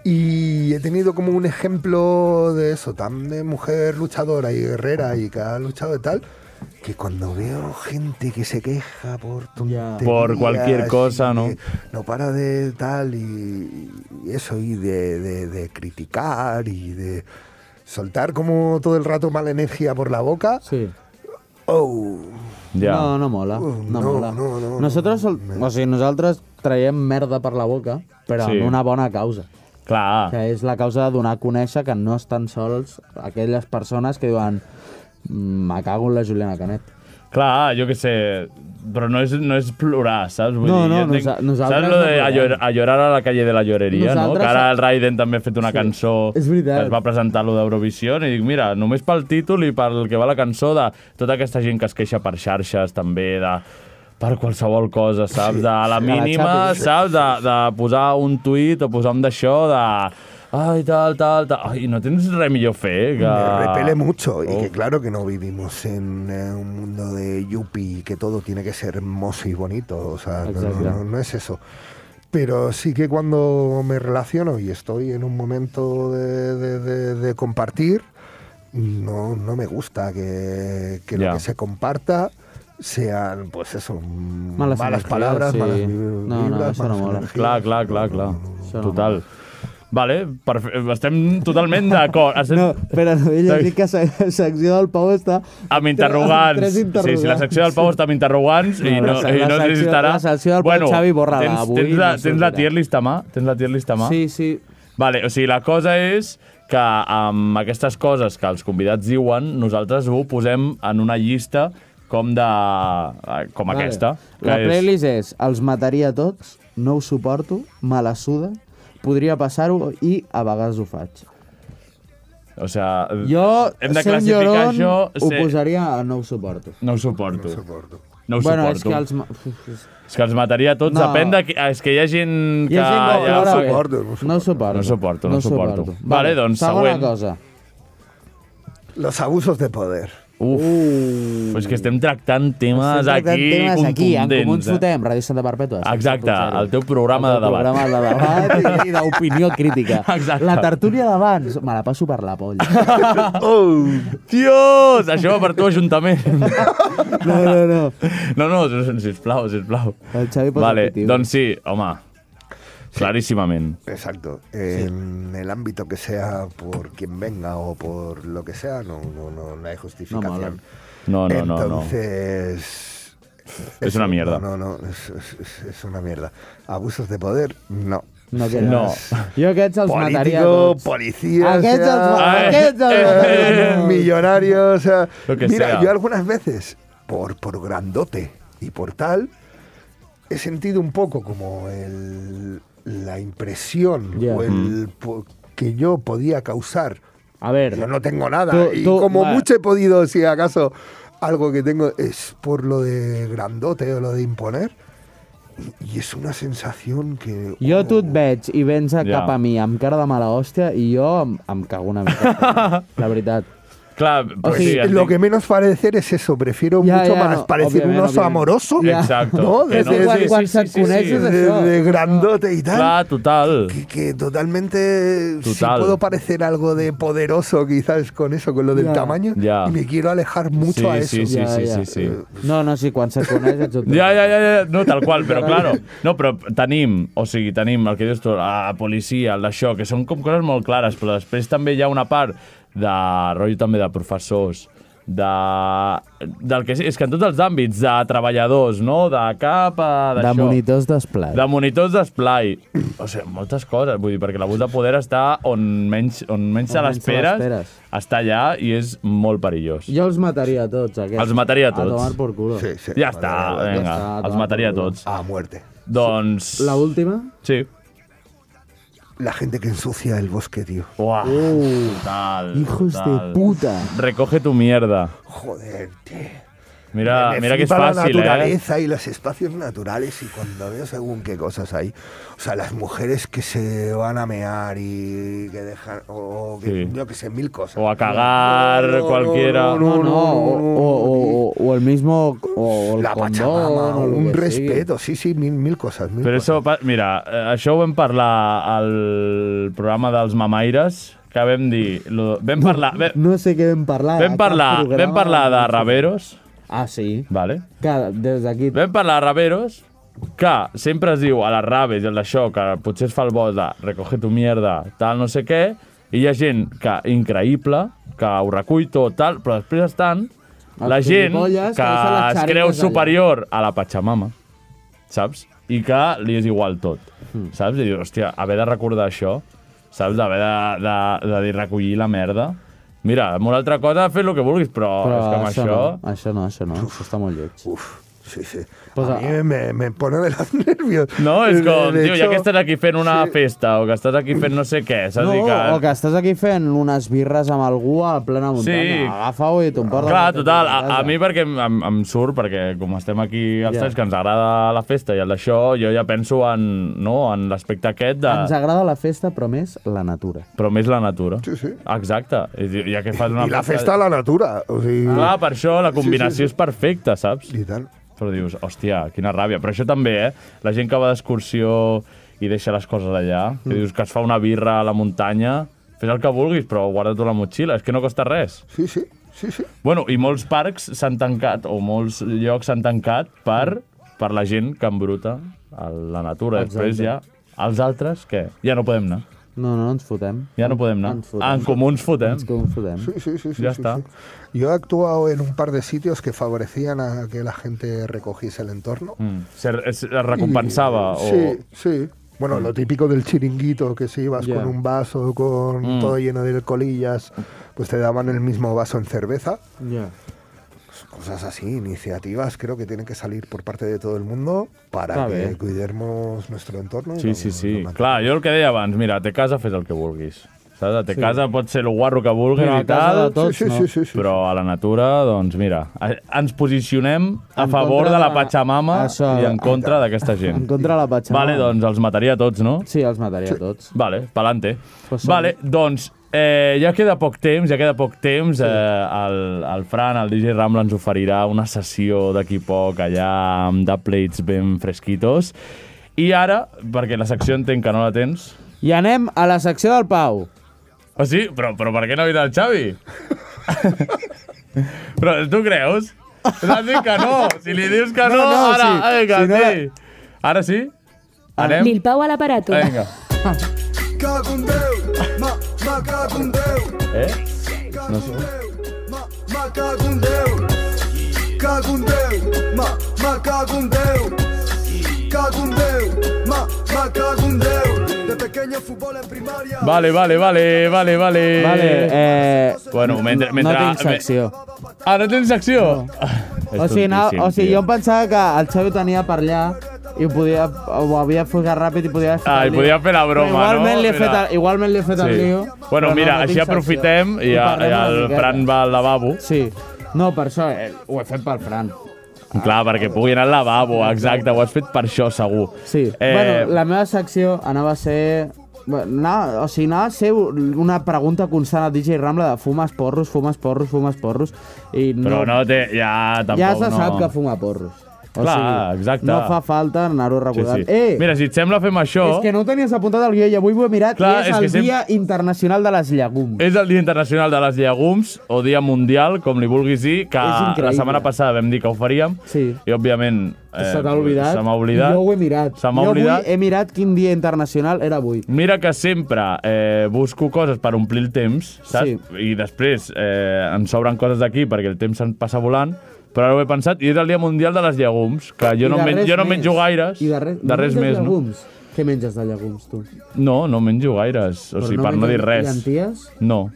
S1: Y he tenido como un ejemplo de eso, tan de mujer luchadora y guerrera y que ha luchado y tal, que cuando veo gente que se queja por tonterías
S2: Por cualquier
S1: y
S2: cosa, ¿no?
S1: que No para de tal y, y eso, y de, de- de criticar y de soltar como todo el rato mala energía por la boca.
S3: Sí.
S1: ¡Oh!
S2: Ja.
S3: No, no mola.
S1: Uh,
S3: No,
S1: no,
S3: mola.
S1: no, no,
S3: nosaltres, sol... o sigui, nosaltres traiem merda per la boca, però
S2: Sí. Ah.
S3: sí. amb una bona causa.
S2: Clar.
S3: Que és la causa de donar a conèixer que no estan sols aquelles persones que diuen "Mm, me cago en la Juliana Canet.
S2: Clar, jo que sé, però no és, no és plorar, saps? Vull
S3: No,
S2: dir,
S3: no,
S2: jo entenc-
S3: nosa- nosaltres
S2: Saps lo
S3: no
S2: de a,
S3: plorem.
S2: llor, a llorar a la calle de la lloreria, no?
S3: Nosaltres-
S2: Que ara el Raiden també ha fet una
S3: Sí,
S2: cançó
S3: és veritat.
S2: que es va presentar lo d'Eurovisió i dic, mira, només pel títol i pel que va la cançó de tota aquesta gent que es queixa per xarxes també, de per qualsevol cosa, saps? De la
S3: que la
S2: mínima,
S3: xapis.
S2: saps? De, de posar un tuit o posar un d'això, de... Ai, tal, tal, tal... Ai, no tens res millor a fer eh, que...
S1: Me repele mucho y
S2: Oh.
S1: que claro que no vivimos en eh, un mundo de yuppie que todo tiene que ser hermoso y bonito, o sea, no,
S3: Exacto.
S1: no- no es eso. Pero sí que cuando me relaciono y estoy en un momento de, de- de- de compartir, no, no me gusta que, que
S2: Ya.
S1: lo que se comparta sean, pues eso, mm,
S3: Malas
S1: malas,
S3: energías,
S1: palabras,
S3: sí.
S1: malas vi-
S3: No, no,
S1: vibras,
S3: eso no
S1: malas
S3: mola.
S1: energías.
S2: Clar, clar, clar, clar.
S3: no.
S2: Total. Vale, perfe- estem totalment d'acord. Estem
S3: No, però no, ell ha dit que la secció del Pau està...
S2: amb interrogants.
S3: Tres
S2: Sí,
S3: interrogants.
S2: sí, la secció del Pau està amb interrogants i
S3: No,
S2: no,
S3: la-
S2: i
S3: la
S2: no
S3: secció-
S2: necessitarà...
S3: la secció del Pau Xavi, borra-la,
S2: tens,
S3: avui
S2: Tens la,
S3: no
S2: tens la
S3: sortirà.
S2: tier list a mà? Tens la tier list a mà?
S3: Sí, sí.
S2: Vale, o sigui, la cosa és que amb aquestes coses que els convidats diuen, nosaltres ho posem en una llista com de... com
S3: Vale.
S2: aquesta. que
S3: La
S2: és-
S3: playlist és Els mataria a tots, no ho suporto, me la suda, podria passar-ho i a vegades ho faig.
S2: O sigui,
S3: Jo,
S2: hem de
S3: ser un
S2: classificar
S3: lloron,
S2: això...
S3: ho
S2: ser-
S3: posaria a no ho suporto.
S2: No ho suporto. No ho suporto. No ho
S3: bueno,
S2: suporto.
S3: és que els... ma- Uf, és-
S2: És que els mataria a tots, no.
S3: No.
S2: depèn de... Qui, és que hi ha gent que...
S3: Hi ha gent eh? que
S2: ja
S3: ho valora
S2: fa-
S3: bé.
S1: suporto,
S3: No ho suporto.
S2: No suporto, no
S3: ho
S2: suporto. Vale, doncs,
S3: segona
S2: següent.
S3: cosa.
S1: Los abusos de poder.
S2: Uf, uh. és que estem tractant temes
S3: Estem tractant
S2: aquí
S3: temes aquí, en
S2: contundents.
S3: Comuns
S2: eh?
S3: Fotem, Ràdio Santa Perpètua.
S2: Exacte,
S3: 100.0.
S2: el teu programa
S3: El teu
S2: de debat.
S3: programa de debat i d'opinió crítica.
S2: Exacte.
S3: La tertúlia d'abans, me la passo per la polla.
S2: Oh, Dios! Això va per tu, Ajuntament.
S3: No, no, no.
S2: No, no, sisplau, sisplau.
S3: El Xavi posa
S2: Vale,
S3: positiu.
S2: doncs sí, home, claríssimament.
S1: Exacto. En el ámbito que sea, por quien venga o por lo que sea, no, no, no, no hay
S3: No mola.
S1: justificación.
S2: No, no, no, no.
S1: Entonces,
S2: Es una mierda.
S1: No, no, no, es, es- es- es una mierda. Abusos de poder, no.
S3: No,
S2: que no.
S3: Jo aquests els
S1: Político, Eh,
S3: mataria a tots.
S1: policía,
S3: Aquests els,
S1: sea,
S2: eh,
S3: aquests els mataria a tots.
S1: millonario, o sea,
S2: Lo que
S1: eh. mira,
S2: sea.
S1: yo algunas veces, por, por grandote y por tal, he sentido un poco como el, la impresión
S3: Ya. Mm.
S1: o el, po- que yo podía causar.
S3: A ver,
S1: Yo no tengo nada.
S3: Tú-
S1: y
S3: tú-
S1: como
S3: va.
S1: mucho he podido, si acaso algo que tengo es por lo de grandote o lo de imponer. Y, y es una sensación que... oh,
S3: Jo tu et veig i vens a
S2: Oh. Ja.
S3: cap a mi amb cara de mala hòstia i jo em, em cago una mica. la veritat.
S2: Clar, però
S1: Pues
S2: sí,
S1: lo que menos parecer es eso, prefiero
S3: Ya,
S1: mucho
S3: ya,
S1: más
S3: no,
S1: parecer un
S3: obviamente,
S1: oso
S3: obviamente.
S1: amoroso,
S3: Ya.
S2: Exacto.
S1: ¿no? De,
S2: Que no,
S1: de-
S3: Igual,
S2: sí,
S3: quan
S2: sí, sí,
S3: se't
S2: sí,
S3: coneix
S2: sí.
S3: és
S1: de-
S3: això.
S1: de grandote y tal,
S2: Clar, total.
S1: que, que totalmente si
S2: Total.
S1: puedo parecer algo de poderoso quizás con eso, con lo del
S3: Ya.
S1: tamaño,
S2: Ya.
S1: y me quiero alejar mucho
S2: Sí,
S1: a eso.
S2: sí, sí,
S3: Ja,
S2: sí,
S3: ja.
S2: sí, sí.
S3: No, no, sí, quan se't coneix ets un...
S2: Ja, ja, ja, ja, no, tal qual, però claro. No, però tenim, o sigui, tenim el que dius tu, la policia, el d'això, que són com coses molt clares, però després també hi ha una part de rotllo també de professors, de, del que sí, és que en tots els àmbits, de treballadors, no? De cap a...
S3: De
S2: d'això.
S3: monitors d'esplai.
S2: De monitors d'esplai. O sigui, moltes coses. Vull dir, perquè l'abús de poder està on menys, on
S3: On
S2: menys se
S3: menys se
S2: l'esperes,
S3: l'esperes.
S2: està allà i és molt perillós.
S3: Jo els mataria a tots, aquests.
S2: Els mataria a tots.
S3: A tomar por culo.
S1: Sí, sí.
S2: Ja està, doncs.
S1: Vale,
S2: vinga,
S3: està,
S2: els
S3: va,
S2: mataria a
S3: va.
S2: tots.
S1: A muerte.
S2: Doncs...
S3: La última?
S2: Sí.
S1: La gente que ensucia el bosque, tío.
S2: Uah,
S3: Uh,
S2: total,
S3: hijos
S2: total.
S3: de puta.
S2: Recoge tu mierda.
S1: Joder, tío.
S2: Mira,
S1: Me
S2: mira que és
S1: flipa
S2: fàcil,
S1: la
S2: eh?
S1: naturaleza y los espacios naturales y cuando veo según qué cosas hay. O sea, las mujeres que se van a mear y que dejan... O que,
S2: Sí.
S1: yo que sé, mil cosas.
S2: O a cagar, cualquiera.
S3: No, no, o, o, o, o el mismo... O el
S1: la
S3: condón,
S1: Pachamama,
S3: o lo
S1: un
S3: que sigui.
S1: respeto. Sí, sí, mil, mil cosas. Mil
S2: Però
S1: cosas.
S2: això, pa- mira, eh, això ho vam parlar al programa dels mamaires, que vam dir... Lo, vam parlar... Vam,
S3: No sé què vam parlar. a
S2: Vam
S3: cap
S2: parlar,
S3: programa.
S2: vam parlar de Raveros,
S3: Ah, sí?
S2: vale?
S3: Que des d'aquí...
S2: vam parlar de Raveros, que sempre es diu a les raves i al d'això, que potser es fa el bo de recoge tu mierda, tal, no sé què, i hi ha gent que, increïble, que ho recull tot, tal, però després estan
S3: Els
S2: la gent que,
S3: gilipolles que deixen les
S2: es
S3: xaretes
S2: creu
S3: allà.
S2: superior a la Pachamama, saps? I que li és igual tot,
S3: Hmm.
S2: saps? I dius, hòstia, haver de recordar això, saps? D'haver de, de, de dir recollir la merda. Mira, amb una altra cosa, fes el que vulguis, però,
S3: Però
S2: és que amb
S3: això,
S2: això...
S3: no, això no, això no, això està molt lleig.
S1: Uf, sí, sí.
S3: Pues
S1: a
S3: a-
S1: mí me, me pone de los nervios.
S2: No, és
S1: De-
S2: com,
S1: de
S2: tio, ja
S1: hecho,
S2: que estàs aquí fent una
S1: sí.
S2: festa o que estàs aquí fent no sé què, saps?
S3: No,
S2: I que...
S3: o que estàs aquí fent unes birres amb algú a plena muntanya.
S2: Sí.
S3: Agafa-ho i t'ho portes.
S2: Clar,
S3: a casa.
S2: total, a, a mi perquè em, em, em surt, perquè com estem aquí els
S3: Ja.
S2: tres, que ens agrada la festa i el d'això, jo ja penso en, no, en l'aspecte aquest de...
S3: Ens agrada la festa, però més la natura.
S2: Però més la natura.
S1: Sí, sí.
S2: Exacte. I, diu, ja que fas una
S1: Y la festa a la natura. O sea,
S2: Clar, per això la combinació és perfecta, saps?
S1: y tal.
S2: Però dius, hòstia, quina ràbia. Però això també, eh? La gent que va d'excursió i deixa les coses allà, que dius que es fa una birra a la muntanya, fes el que vulguis, però guarda-t'ho a la motxilla, és que no costa res.
S1: Sí, sí, sí, sí.
S2: Bueno, i molts parcs s'han tancat, o molts llocs s'han tancat per, per la gent que embruta a la natura. Després ja, els altres, què? Ja no podem anar.
S3: No, no, ens fotem.
S2: Ja no podem anar.
S3: Ens fotem.
S2: En comú ens fotem.
S3: Ens com fotem.
S1: Sí, sí, sí, sí,
S2: Ya
S1: sí,
S2: está.
S1: sí. Yo he actuado en un par de sitios que favorecían a que la gente recogiese el entorno.
S2: Mm. Se, es, es recompensava.
S1: Y- eh,
S2: o...
S1: Sí, sí. Bueno, lo típico del chiringuito, que si ibas
S3: Ya.
S1: con un vaso, con
S2: Mm.
S1: todo lleno de colillas, pues te daban el mismo vaso en cerveza.
S3: Ja.
S1: Cosas así, iniciativas, creo que tienen que salir por parte de todo el mundo para
S3: Está
S1: que
S3: bien.
S1: cuidemos nuestro entorno. y
S2: Sí,
S1: lo-
S2: sí,
S1: lo
S2: sí.
S1: mantengamos.
S2: Clar, jo el que deia abans, mira, a te casa fes el que vulguis. Saps? A te sí. casa pot ser el guarro que vulguis
S3: Però a
S2: i
S3: casa
S2: tal,
S3: de tots,
S1: sí, sí,
S3: no.
S1: sí, sí, sí.
S2: però a la natura, doncs mira, a- ens posicionem a
S3: En
S2: favor
S3: contra
S2: de la
S3: de-
S2: Pachamama
S3: Això,
S2: i en contra d'aquesta
S3: En
S2: gent.
S3: contra de la patxamama.
S2: Vale, doncs els mataria a tots, no?
S3: Sí, els mataria a tots.
S2: Vale, pa'lante.
S3: Pues sí.
S2: vale, doncs eh, ja queda poc temps, ja queda poc temps. Eh, el, el Fran, el DJ Rambla, ens oferirà una sessió d'aquí poc allà amb plates ben fresquitos. I ara, perquè la secció entenc que no la tens...
S3: I anem a la secció del Pau.
S2: Ah, sí? Però, però per què no ha vingut el Xavi? però tu creus? T'has dit que no. Si li dius que
S3: No,
S2: no,
S3: no,
S2: ara...
S3: sí.
S2: Vinga,
S3: Si no Ah. la-
S2: sí. Ara sí? Anem?
S6: Lil Pau a l'aparato.
S2: Vinga.
S7: Cago en Déu, ma, ma cago en Déu.
S2: Eh?
S7: Cago en Déu, ma, ma cago en Déu. Cago en Déu, ma, ma cagundeo, cagundeo, ma, ma cagundeo. De pequeño fútbol en primaria.
S2: Vale, vale, vale, vale, vale.
S3: Vale, eh...
S2: Bueno, mentre...
S3: no
S2: mentre
S3: tinc secció.
S2: Ah, no tens Ah. secció? És
S3: O sigui, no,
S2: tontíssim,
S3: o sigui
S2: tio.
S3: jo em pensava que el Xavi ho tenia per allà i ho, podia, ho havia fugat ràpid i podia fer
S2: Ah, i podia fer la broma,
S3: igualment
S2: no?
S3: Li he fet
S2: Mira.
S3: el, igualment li he fet el
S2: Sí.
S3: lío.
S2: Bueno,
S3: però
S2: mira,
S3: no, no
S2: així
S3: tinc
S2: aprofitem
S3: secció.
S2: i,
S3: Ho
S2: ja,
S3: parlem
S2: ja
S3: una
S2: el
S3: miqueta.
S2: Fran va al lavabo.
S3: Sí. No, per això, eh, ho he fet pel Fran. Ah.
S2: Clar, perquè pugui anar al lavabo, exacte, ho has fet per això, segur. Sí,
S3: Eh... Bueno, la meva secció anava a ser... Bueno, anava, o sigui, anava a ser una pregunta constant a DJ Rambla de fumes porros, fumes porros, fumes porros, i no...
S2: Però no té... Ja, tampoc
S3: ja se sap
S2: no.
S3: que fuma porros. O
S2: Clar,
S3: sigui,
S2: exacte.
S3: No fa falta anar-ho recordant.
S2: Sí, sí.
S3: Eh,
S2: Mira, si et sembla, fem això.
S3: És que no ho tenies apuntat al guió i avui ho he mirat
S2: Clar,
S3: i és,
S2: és que
S3: el Dia Internacional de les Llegums.
S2: És el Dia Internacional de les Llegums, o Dia Mundial, com li vulguis dir, que
S3: És
S2: la
S3: increïble.
S2: setmana passada vam dir que ho faríem, sí. i òbviament...
S3: se t'ha oblidat.
S2: Eh, Se m'ha oblidat.
S3: Jo ho he mirat.
S2: Se m'ha
S3: jo
S2: oblidat.
S3: avui he mirat quin dia internacional era avui.
S2: Mira que sempre eh, busco coses per omplir el temps, saps? Sí. I després eh, ens sobren coses d'aquí perquè el temps se'n passa volant, però ara ho he pensat, i és el Dia Mundial de les Llegums, que jo,
S3: I
S2: no,
S3: de
S2: men
S3: res
S2: jo no
S3: més.
S2: menjo gaires,
S3: I de, re
S2: de
S3: menges
S2: res més, no?
S3: llegums? no? Què menges de llegums, tu?
S2: No, no menjo gaires, o
S3: Però
S2: sigui,
S3: no
S2: per no dir
S3: menges
S2: res.
S3: llenties?
S2: No.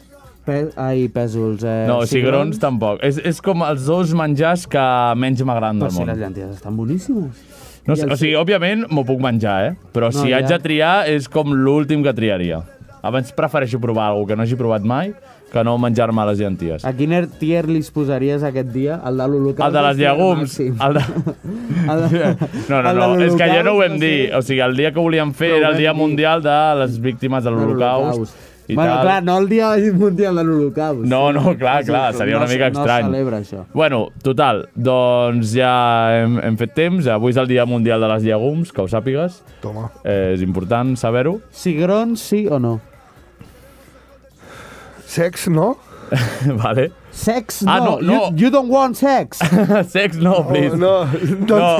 S3: Pe ai, pèsols. Eh,
S2: No, cigrons, tampoc. És, és com els dos menjars que menys m'agraden
S3: Però
S2: del
S3: si
S2: món.
S3: les llenties estan boníssimes.
S2: No,
S3: I
S2: sé,
S3: el
S2: o sigui, òbviament m'ho puc menjar, eh? Però
S3: No,
S2: si
S3: ja.
S2: haig de triar, és com l'últim que triaria. Abans prefereixo provar alguna que no hagi provat mai que no menjar-me les llenties.
S3: A quin er- tier li posaries aquest dia? El de l'Holocaust?
S2: El de les
S3: va ser
S2: llegums.
S3: màxim.
S2: El de...
S3: El de...
S2: No, no,
S3: El de
S2: no, és que ja no ho
S3: l'Holocaust
S2: vam
S3: va
S2: dir. O sigui, el dia que volíem fer
S3: Però ho
S2: era el
S3: vam
S2: Dia
S3: dir.
S2: Mundial de les Víctimes de l'Holocaust. I
S3: bueno,
S2: tal.
S3: clar, no el dia mundial de l'Holocaust.
S2: No, no, clar,
S3: Sí,
S2: clar,
S3: però
S2: seria
S3: no
S2: una mica
S3: se- no
S2: estrany.
S3: es celebra això.
S2: Bueno, total, doncs ja hem, hem fet temps. Avui és el Dia Mundial de les Llegums, que ho sàpigues.
S8: Toma.
S2: Eh, és important saber-ho.
S3: Cigrons, sí o no?
S8: Sex, no?
S2: vale.
S3: Sex, no.
S2: Ah, no, no.
S3: You, you don't want sex.
S2: sex, no, please.
S8: Oh, no, Eh.
S2: no, no,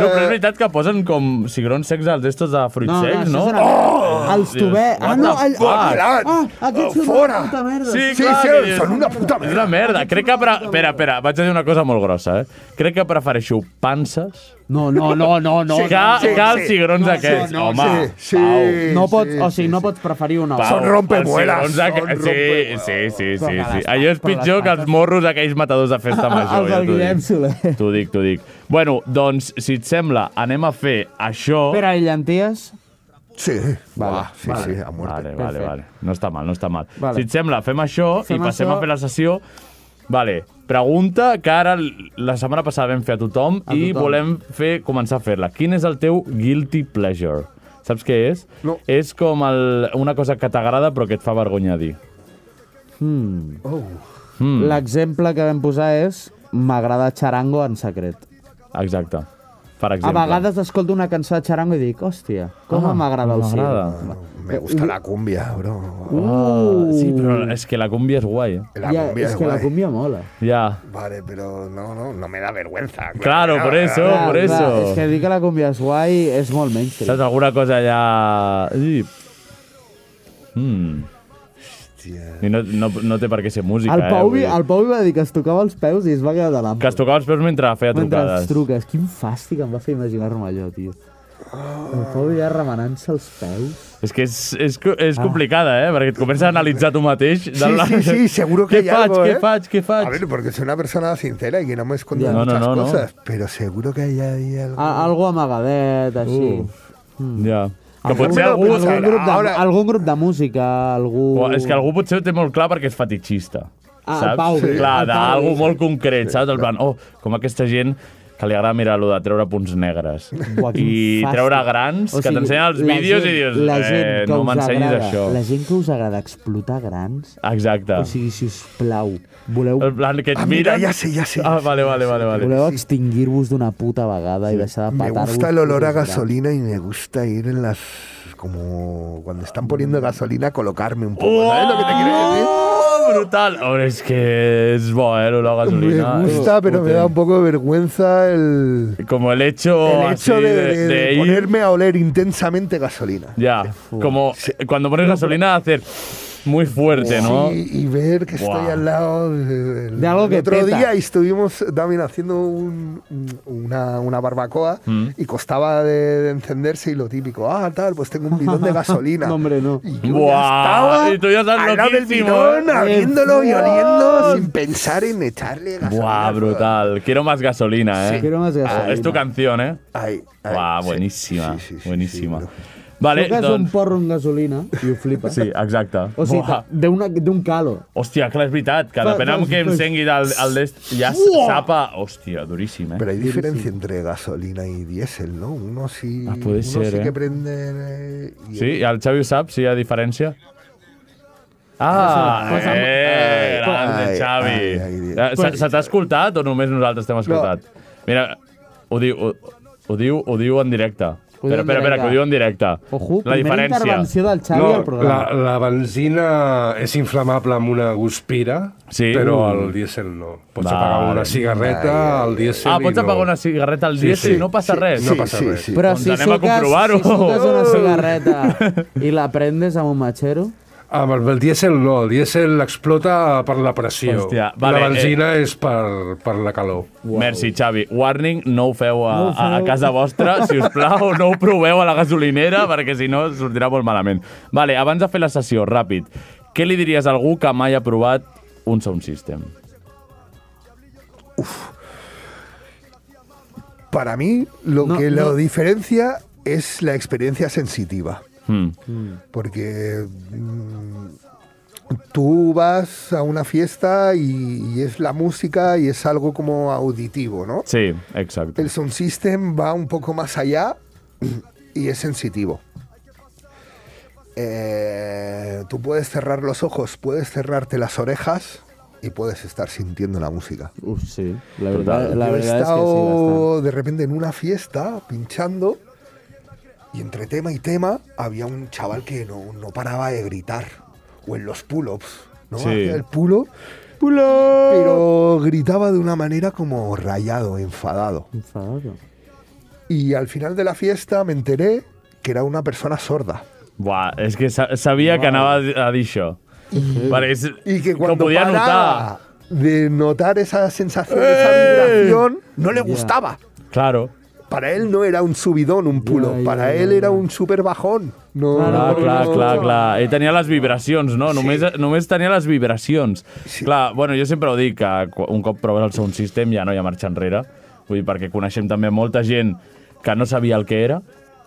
S2: però és veritat que posen com cigrons secs als estos de fruit
S3: No, no,
S2: secs,
S3: això
S2: no? Oh!
S3: és una- Els tubers. Ah, no, el-
S2: ah,
S3: Ah, aquests són
S8: Fora!
S3: una puta merda.
S2: Sí,
S8: Sí,
S2: clar,
S8: sí,
S2: que dius,
S8: són una puta
S2: merda. És una merda. Crec que... Pre... Espera, espera, vaig a dir una cosa molt grossa, eh? Crec que prefereixo panses
S3: No, no, no, no, no.
S2: Sí, que-
S3: no,
S2: que
S3: no,
S2: els cigrons aquests, home,
S3: sí,
S2: Pau.
S3: no pots, o sigui, no pots preferir una
S2: Pau,
S3: altra.
S2: els cigrons aqu- Sí, sí, sí, sí,
S3: Però que
S2: sí.
S3: les-
S2: Allò és
S3: però les
S2: pitjor que els morros aquells matadors de festa major.
S3: Els
S2: ja
S3: del
S2: t'ho
S3: Ah,
S2: dic.
S3: Guillem Soler.
S2: T'ho dic, t'ho dic. Bueno, doncs, si et sembla, anem a fer això...
S3: Pere i llenties?
S8: Sí.
S3: Vale,
S2: Uah,
S3: sí, vale. sí, a muerte.
S2: Vale, vale,
S3: Perfecte.
S2: vale. No està mal, no està mal.
S3: Vale.
S2: Si et sembla, fem això
S3: Fem
S2: i passem
S3: això.
S2: a fer la sessió. Vale, pregunta que ara l- la setmana passada vam fer a tothom,
S3: A
S2: i
S3: tothom.
S2: volem fer començar a fer-la. Quin és el teu guilty pleasure? Saps què és? No. És com el, una cosa que t'agrada però que et fa vergonya dir.
S3: Hmm.
S8: Oh.
S2: Mm.
S3: L'exemple que vam posar és m'agrada Charango en secret.
S2: Exacte. Per
S3: A
S2: exemple.
S3: vegades escolto una cançó de Charango i dic, hòstia, com
S2: Ah,
S3: m'agrada el
S2: m'agrada.
S3: cigrons.
S8: Me gusta la cumbia, bro.
S2: Ah,
S8: Uh.
S2: sí, però és que la cumbia és guai. eh?
S8: La
S3: Ja,
S8: cumbia
S3: és
S8: es
S3: que la
S8: guay.
S3: cumbia mola.
S2: Ja.
S8: Vale, pero no, no, no me da vergüenza.
S2: Claro, por eso,
S3: Clar,
S2: por
S3: clar,
S2: eso.
S3: És que dir que la cumbia és guai és molt menys.
S2: Saps alguna cosa allà... Sí. Mm. I no, no, no té per què ser música,
S3: El Pau,
S2: eh?
S3: vi- el Pau vi va dir que es tocava els peus i es va quedar de l'ampa.
S2: Que es tocava els peus mentre feia
S3: Mentre
S2: trucades.
S3: els truques. Quin fàstic em va fer imaginar-me allò, tio. El Pau ja remenant-se els peus.
S2: És que és, és, co- és complicada, eh? Perquè et comença a analitzar tu mateix.
S8: Ah. Sí, sí, sí, seguro que
S2: què
S8: hay algo,
S2: faig,
S8: ¿eh?
S2: Què faig, què faig?
S8: A ver, porque soy una persona sincera y que no me escondo
S2: Ya.
S8: de
S2: No, no,
S8: muchas
S2: no, Ah, no.
S8: cosas, pero seguro que hay ahí algo.
S3: A algo amagadet, així.
S2: Uf. Ja. Que
S3: Algú-
S2: potser algú...
S8: ¿eh?
S3: algun, grup de, algun grup de música, algú...
S2: O és que algú potser ho té molt clar perquè és fetichista.
S3: Uh. Ah,
S2: saps?
S3: el Pau. Sí.
S2: Clar,
S3: El Pau.
S2: d'algú molt concret, saps? Del plan, oh, com aquesta gent que li agrada mirar lo de treure punts negres.
S3: Buah, quin
S2: I
S3: fàstic.
S2: treure grans,
S3: O
S2: que
S3: sigui,
S2: t'ensenyen els
S3: la
S2: vídeos
S3: gent-
S2: i dius,
S3: la gent
S2: eh,
S3: que
S2: no
S3: us
S2: m'ensenyis
S3: agrada-
S2: això.
S3: La gent que us agrada explotar grans,
S2: Exacte.
S3: o sigui, si us plau, voleu,
S2: El plan que et
S3: Ah,
S2: mira...
S3: mira,
S2: miren...
S3: ja sé, ja sé,
S2: Ah, vale, vale, vale. vale.
S3: voleu extingir-vos d'una puta vegada i deixar de
S8: Me
S3: patar-vos.
S8: gusta el olor a
S3: grans.
S8: gasolina y me gusta ir en las. como cuando están poniendo gasolina, colocarme un poco.
S2: Mm. Oh,
S1: ¿eh?
S8: ¿Sabes lo que te quiero decir?
S2: brutal! Home, és que és bo, eh, l'olor a
S8: Me
S2: gasolina. eh,
S8: gusta, pero me da un poco de vergüenza el,
S2: Como el hecho,
S8: el hecho
S2: así de,
S8: de, de- de
S2: de ir
S8: ponerme a oler intensamente gasolina.
S2: Ya, como cuando pones eh, gasolina hacer Muy fuerte, ¿no?
S1: Sí, y ver que estoy
S2: Guau.
S1: al lado de,
S2: De algo
S1: el
S2: que
S1: otro
S2: peta.
S1: día y estuvimos también haciendo un- una, una barbacoa
S2: Mm.
S1: y costaba de, de encenderse y lo típico, ah, tal, pues tengo un bidón de gasolina.
S3: No, hombre, no.
S1: Y yo ya estaba
S2: Y tú ya estás
S1: al lado del
S2: loquísimo,
S1: bidón,
S2: ¿eh?
S1: abriéndolo y
S2: Dios.
S1: oliendo sin pensar en echarle
S2: Buah, brutal. Quiero más gasolina, ¿eh?
S3: Sí. Quiero más gasolina.
S2: Ah, es tu canción, ¿eh?
S1: Ay,
S2: Buah, bueníssima. bueníssima. vale,
S3: Toques un
S2: doncs...
S3: porro amb gasolina i ho flipes.
S2: Sí, exacte.
S3: O sigui,
S2: Buah.
S3: d'un d'un calo.
S2: Hòstia, clar, és veritat, que
S3: Fa-
S2: depèn
S3: fa-
S2: amb què em
S3: fa-
S2: sengui del, el d'est, ja s-
S3: Uah!
S2: sapa... Hòstia, duríssim, eh?
S8: Pero hay diferencia entre gasolina y diésel, ¿no? Uno sí,
S2: Ah, puede
S8: uno
S2: ser,
S8: sí
S2: ¿eh?
S8: que prende... eh, y-
S2: Sí, i el Xavi ho sap, si hi ha diferència? Ah,
S8: Posa-
S2: eh,
S8: posa-
S2: grande,
S8: Ai, ai, ai,
S2: Xavi.
S8: Dios.
S2: Eh, Se se t'ha escoltat o només nosaltres t'hem escoltat? Mira, ho diu, ho, ho diu, ho diu en directe.
S3: diu en
S2: Espera, espera, espera,
S3: directe.
S2: que ho diu en directe.
S3: Ojo,
S2: La
S3: primera
S2: diferència.
S3: intervenció del Xavi al programa.
S9: La, la benzina és inflamable amb una guspira,
S2: sí?
S9: però
S2: Mm.
S9: el dièsel no. Pots
S2: Vale.
S9: apagar una cigarreta al dièsel
S2: Ah,
S9: i
S2: pots
S9: no.
S2: apagar una cigarreta al
S9: Sí,
S2: dièsel
S9: sí.
S2: i no passa
S9: Sí,
S2: res?
S9: no passa Sí, sí, res. sí. Però
S2: doncs
S3: si
S2: anem a
S3: suques-
S2: comprovar-ho. Uh!
S3: Si suques una cigarreta i la prendes amb un matxero...
S9: Amb el, el dièsel no, el dièsel explota per la pressió.
S2: Hòstia, vale, eh.
S9: la benzina és per, per la calor.
S2: Merci, Xavi. Warning, no ho feu a,
S9: No ho
S2: a- a
S9: feu.
S2: casa vostra, si us plau, no ho proveu a la gasolinera, perquè si no sortirà molt malament. Vale, abans de fer la sessió, ràpid, què li diries a algú que mai ha provat un sound system?
S1: Para mí lo
S8: No,
S1: que
S8: no.
S1: lo diferencia es la experiencia sensitiva.
S2: Mm.
S1: Porque mm, tú vas a una fiesta y, y es la música y es algo como auditivo, ¿no?
S2: Sí, exacte.
S1: El sound system va un poco más allá y es sensitivo. Eh, tú puedes cerrar los ojos, puedes cerrarte las orejas y puedes estar sintiendo la música.
S3: Uf, sí, la verdad, la
S1: Yo he
S3: verdad es que sí, bastante.
S1: estado de repente en una fiesta pinchando y entre tema y tema había un chaval que no, no paraba de gritar. O en los pull-ups, ¿no?
S8: Sí.
S1: Hacía el pulo. Pero gritaba de una manera como rayado, enfadado.
S3: Enfadado.
S1: Y al final de la fiesta me enteré que era una persona sorda.
S2: Buah, és que sa- sabia que anava a dir- a dir això. Vale, és,
S1: Y que
S2: que ho
S1: cuando
S2: podia
S1: paraba
S2: notar.
S1: de notar esa sensación, esa
S2: ¡Eh!
S1: vibración, no le gustaba.
S2: Claro.
S1: Para él no era un subidón, un pulo. Para él era un súper bajón. No,
S2: Clar,
S1: no,
S2: clar,
S1: no.
S2: clar, clar. Ell tenia les vibracions, no? Només, només tenia les vibracions. Clar, bueno, jo sempre ho dic, que qu- un cop proves el sound system ja no hi ha marxa enrere. Vull dir, perquè coneixem també molta gent que no sabia el que era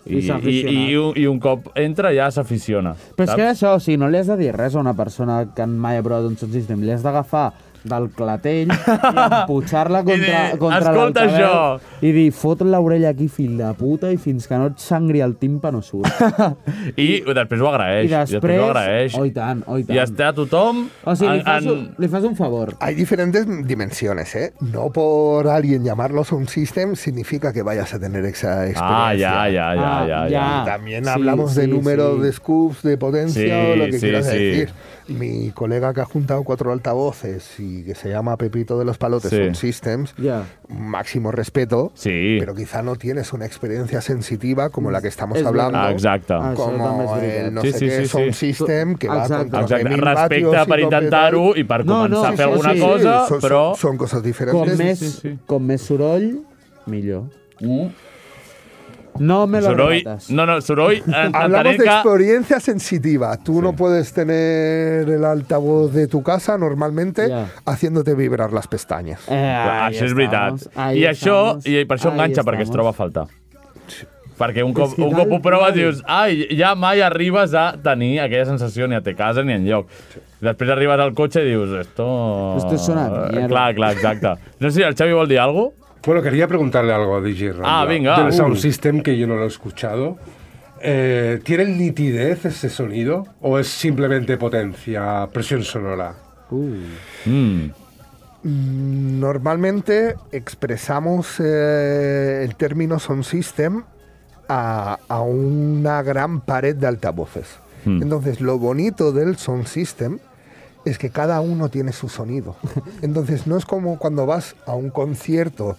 S2: i,
S3: I s'ha
S2: i, i,
S3: aficionat.
S2: un, i un cop entra ja s'aficiona.
S3: Però és
S2: saps?
S3: que això, o sigui, no li has de dir res a una persona que mai ha provat un sound system. Li has d'agafar del clatell i empujar-la contra,
S2: I dir,
S3: contra
S2: "Escolta
S3: l'altaveu
S2: això".
S3: i dir, fot l'orella aquí, fill de puta, i fins que no et sangri el timpa no surt.
S2: I, després ho agraeix.
S3: I després-
S2: després ho agraeix.
S3: Oh, i tant, oh, i tant.
S2: I està tothom...
S3: O sigui, li fas,
S2: en,
S3: un, li fas un favor.
S1: Hay diferentes dimensiones, ¿eh? No por alguien llamarlo sound system significa que vayas a tener esa experiencia.
S2: Ah, ya, ya, ya, Ah, ya, ya. ya.
S1: También
S2: Sí,
S1: hablamos de
S2: sí,
S1: número
S2: sí.
S1: de scoops, de potencia
S2: Sí,
S1: o lo que
S2: sí,
S1: quieras
S2: sí.
S1: decir. Mi colega que ha juntado cuatro altavoces y que se llama Pepito de los Palotes
S2: Sí.
S1: Sound Systems, máximo respeto, pero quizá no tienes una experiencia sensitiva como la que estamos
S2: És
S1: hablando.
S2: veritat. Ah, exacte.
S1: Como
S2: Això també és
S1: el no
S2: veritat.
S1: sé
S2: Sí, sí,
S1: qué
S2: sí,
S1: Sound
S2: sí.
S1: System que va
S2: Exacte.
S1: contra
S2: Exacte.
S1: 20.000 vatios
S2: Respecte
S1: i
S2: per
S1: com que
S2: intentar-ho
S1: tal.
S2: i per No, començar no, a fer sí, alguna sí, sí. cosa,
S1: Són- són-
S2: però-
S1: Són coses
S3: Com
S1: diferents.
S3: més, com més soroll, millor. No me lo
S2: Mm. Soroll,
S3: rebates.
S2: no, no, soroll, en-
S1: Hablamos
S2: entenem
S1: de
S2: que...
S1: experiencia sensitiva. Tú no puedes tener el altavoz de tu casa normalmente haciéndote vibrar las pestañas.
S3: Eh,
S2: Clar, Ah, això és veritat. I això, i per això enganxa, perquè es troba a faltar. Perquè un cop,
S1: que
S2: un cop ho
S1: val,
S2: proves
S1: val.
S2: dius, ai, ja mai arribes a tenir aquella sensació ni a te casa ni en lloc. Després arribes al cotxe i dius, esto...
S9: Esto suena a mierda.
S2: Clar, clar, exacte. No sé si el Xavi vol dir alguna cosa.
S9: Bueno, quería preguntarle algo a DJ Rambla.
S2: Ah, venga.
S9: Del Sound
S2: Uh.
S9: System, que yo no lo he escuchado. Eh, ¿Tiene nitidez ese sonido? ¿O es simplemente potencia, presión sonora?
S1: Uh. Mm, Normalmente expresamos eh, el término sound system a, a una gran pared de altavoces.
S2: Mm.
S8: Hmm.
S1: Entonces, lo bonito del sound system es que cada uno tiene su sonido. Entonces, no es como cuando vas a un concierto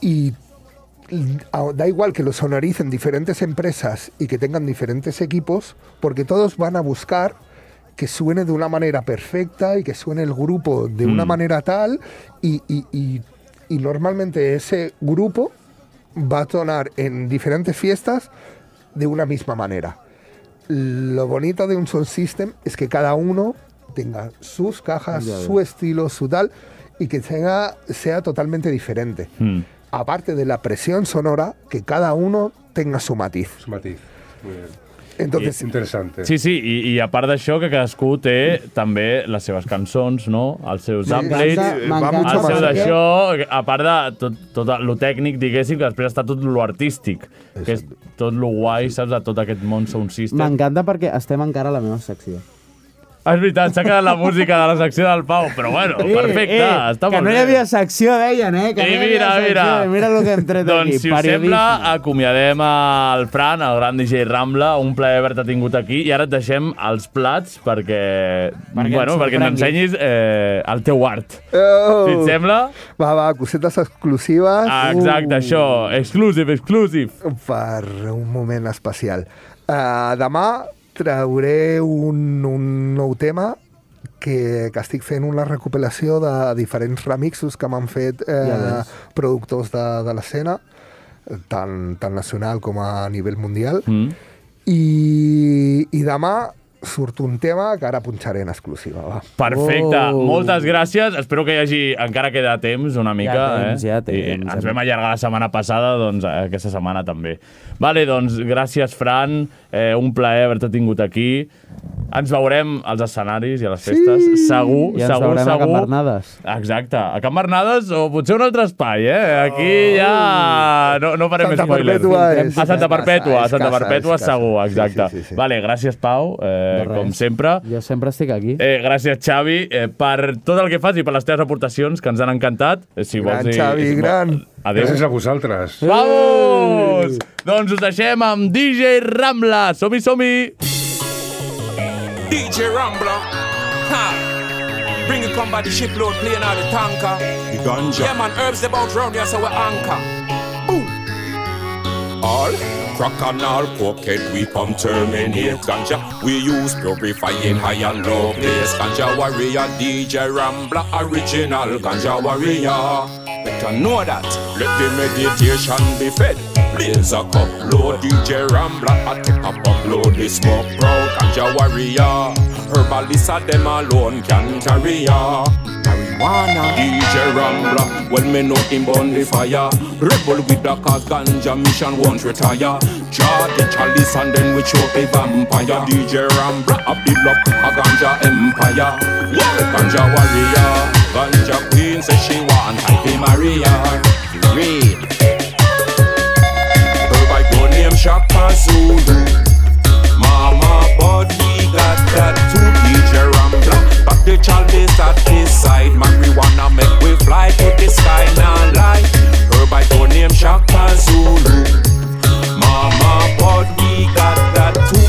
S1: y y a- da igual que lo sonoricen diferentes empresas y que tengan diferentes equipos, porque todos van a buscar que suene de una manera perfecta y que suene el grupo de una
S8: Mm.
S1: manera tal y, y- y- y normalmente ese grupo va a sonar en diferentes fiestas de una misma manera. Lo bonito de un sound system es que cada uno tenga sus cajas,
S8: Ya
S1: su estilo, su tal y que tenga, sea totalmente diferente
S2: Mm.
S1: aparte de la presión sonora, que cada uno tenga su matiz.
S9: Su matiz. Muy bien.
S1: Entonces-
S9: Interesante.
S2: Sí, sí, i, i a part d'això, que cadascú té també les seves cançons, no? Els seus
S3: M'encanta,
S2: updates,
S3: m'encanta.
S2: el seu Ah, d'això, a part de tot, tot lo tècnic, diguéssim, que després està tot lo artístic, que és tot lo guai, saps, de tot aquest món sound system.
S3: M'encanta perquè estem encara a la meva secció.
S2: És veritat, s'ha quedat la música de la secció del Pau, però bueno, Oh, perfecte, està
S3: Eh, que
S2: molt
S3: no hi
S2: bé.
S3: havia secció, deien, eh? Que
S2: I
S3: no hi
S2: mira,
S3: havia
S2: mira.
S3: secció, Mira el que hem tret
S2: Doncs,
S3: aquí.
S2: si us sembla, acomiadem al Fran, el gran DJ Rambla. Un plaer haver-te tingut aquí. I ara et deixem els plats perquè...
S1: Perquè
S2: Perquè
S1: ens
S2: bueno, perquè ens
S1: sorprengui.
S2: ensenyis eh, el teu art.
S1: Oh!
S2: Si et sembla...
S1: Va, va, cosetes
S3: Uh.
S1: exclusives.
S2: Ah, exacte, això. Exclusive, exclusive.
S1: Per un moment especial. Uh, demà trauré un, un nou tema que, que estic fent una recopilació de diferents remixos que m'han fet
S3: Ja
S1: eh,
S3: ves.
S1: productors de, de l'escena, tant, tant nacional com a nivell mundial.
S2: Mm.
S1: I, I demà surt un tema que ara punxaré en exclusiva. Va.
S2: Perfecte, moltes gràcies. Espero que hi hagi... Encara queda temps una mica.
S3: temps,
S2: eh?
S3: ja temps.
S2: I ens vam allargar la setmana passada, doncs eh, aquesta setmana també. Vale, doncs gràcies, Fran. Eh, un plaer haver-te tingut aquí. Ens veurem als escenaris i a les festes. Segur,
S3: I ens
S2: segur,
S3: veurem a
S2: segur.
S3: Can Bernades.
S2: Exacte, a Can Bernades o potser un altre espai, eh? Aquí ja... No, no farem
S1: Oh. Santa
S2: més spoiler.
S1: Perpètua és-
S2: a Santa
S1: és casa,
S2: Perpètua, a
S1: és
S2: Santa
S1: casa, és
S2: Perpètua,
S1: casa.
S2: segur,
S1: Sí, sí,
S2: exacte.
S1: sí, sí.
S2: Vale, gràcies, Pau, eh,
S3: res.
S2: com sempre.
S3: Jo sempre estic aquí.
S2: Eh, gràcies, Xavi, eh, per tot el que fas i per les teves aportacions, que ens han encantat. Eh, Si
S9: Gran,
S2: vols dir,
S9: Xavi,
S2: si vo-
S9: gran.
S2: Adéu.
S9: Gràcies a vosaltres.
S2: Vamos! Doncs us deixem amb DJ Rambla. Som-hi, som-hi!
S10: DJ Rambler. Ha. Bring it come by the shipload, playing out the tanker.
S11: The ganja.
S10: Yeah, man, herbs they bout round here, so we anchor.
S11: All crack and all cocaine we come terminate ganja. We use purifying high and low place ganja warrior DJ Rambler original ganja warrior. Better know that. Let the meditation be fed. Blaze a cup, load DJ Rambler. I take a pop, load the smoke, proud ganja warrior. Herbalist a them alone can carry ya. Marijuana. DJ Rambler, well me know him burn the fire. Rebel with the cause ganja mission won't retire. Draw the chalice and then we choke the vampire. DJ Rambler, I build up a ganja empire. Yeah, ganja warrior, ganja queen says she want I be Maria. Real. Her by go name Shaka Zulu. Mama body got tattoo DJ Rambler But the chalice at his side Marijuana make we fly to the sky Now lie Her by go name Shaka Zulu Mama body got tattoo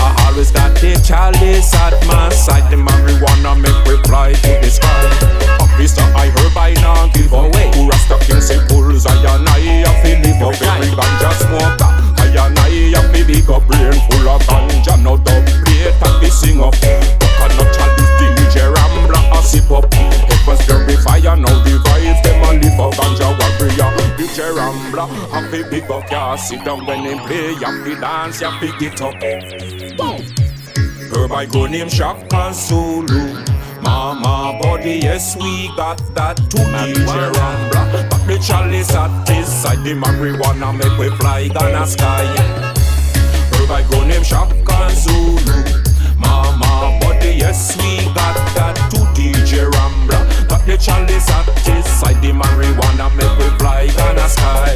S11: I always got the chalice at my side The marijuana make we fly to the sky Officer I her by now give away Who Rasta King say pulls I and I I feel live up every ganja smoker I and I have me big up brain full of ganja No dub plate at the sing up Coconut chalice DJ Rambler a sip up Heavens purifier now the vibes Them a live up ganja warrior DJ Rambler a fi big up ya Sit down when him play ya fi dance ya pick it up Herb I go name Shaka Zulu Mama body, yes, we got that too. DJ Rambler, but the chalice at this side, the marijuana make we fly Ghana sky. Herb I go name Shaka Zulu. Mama body, yes, we got that too. DJ Rambler, but the chalice at this side, the marijuana make we fly Ghana sky.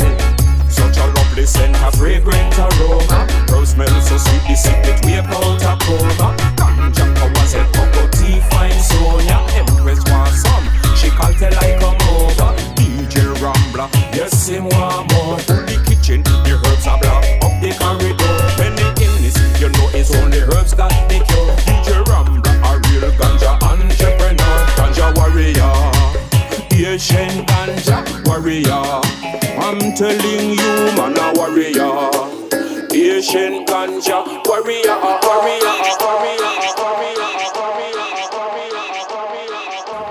S11: Such a lovely scent, a fragrant aroma. Rose smell so sweet, the secret way out a coma. Ganja powers a cup of tea, fine Sonia. Empress want some, she call tell I come over. DJ Rambler, yes him want more. To the kitchen, the herbs are black up the corridor. When the illness, you know it's only herbs that they cure. DJ Rambler, a real ganja entrepreneur, ganja warrior. Asian ganja warrior. I'm telling you, man, a warrior. Asian ganja warrior, warrior, warrior, warrior.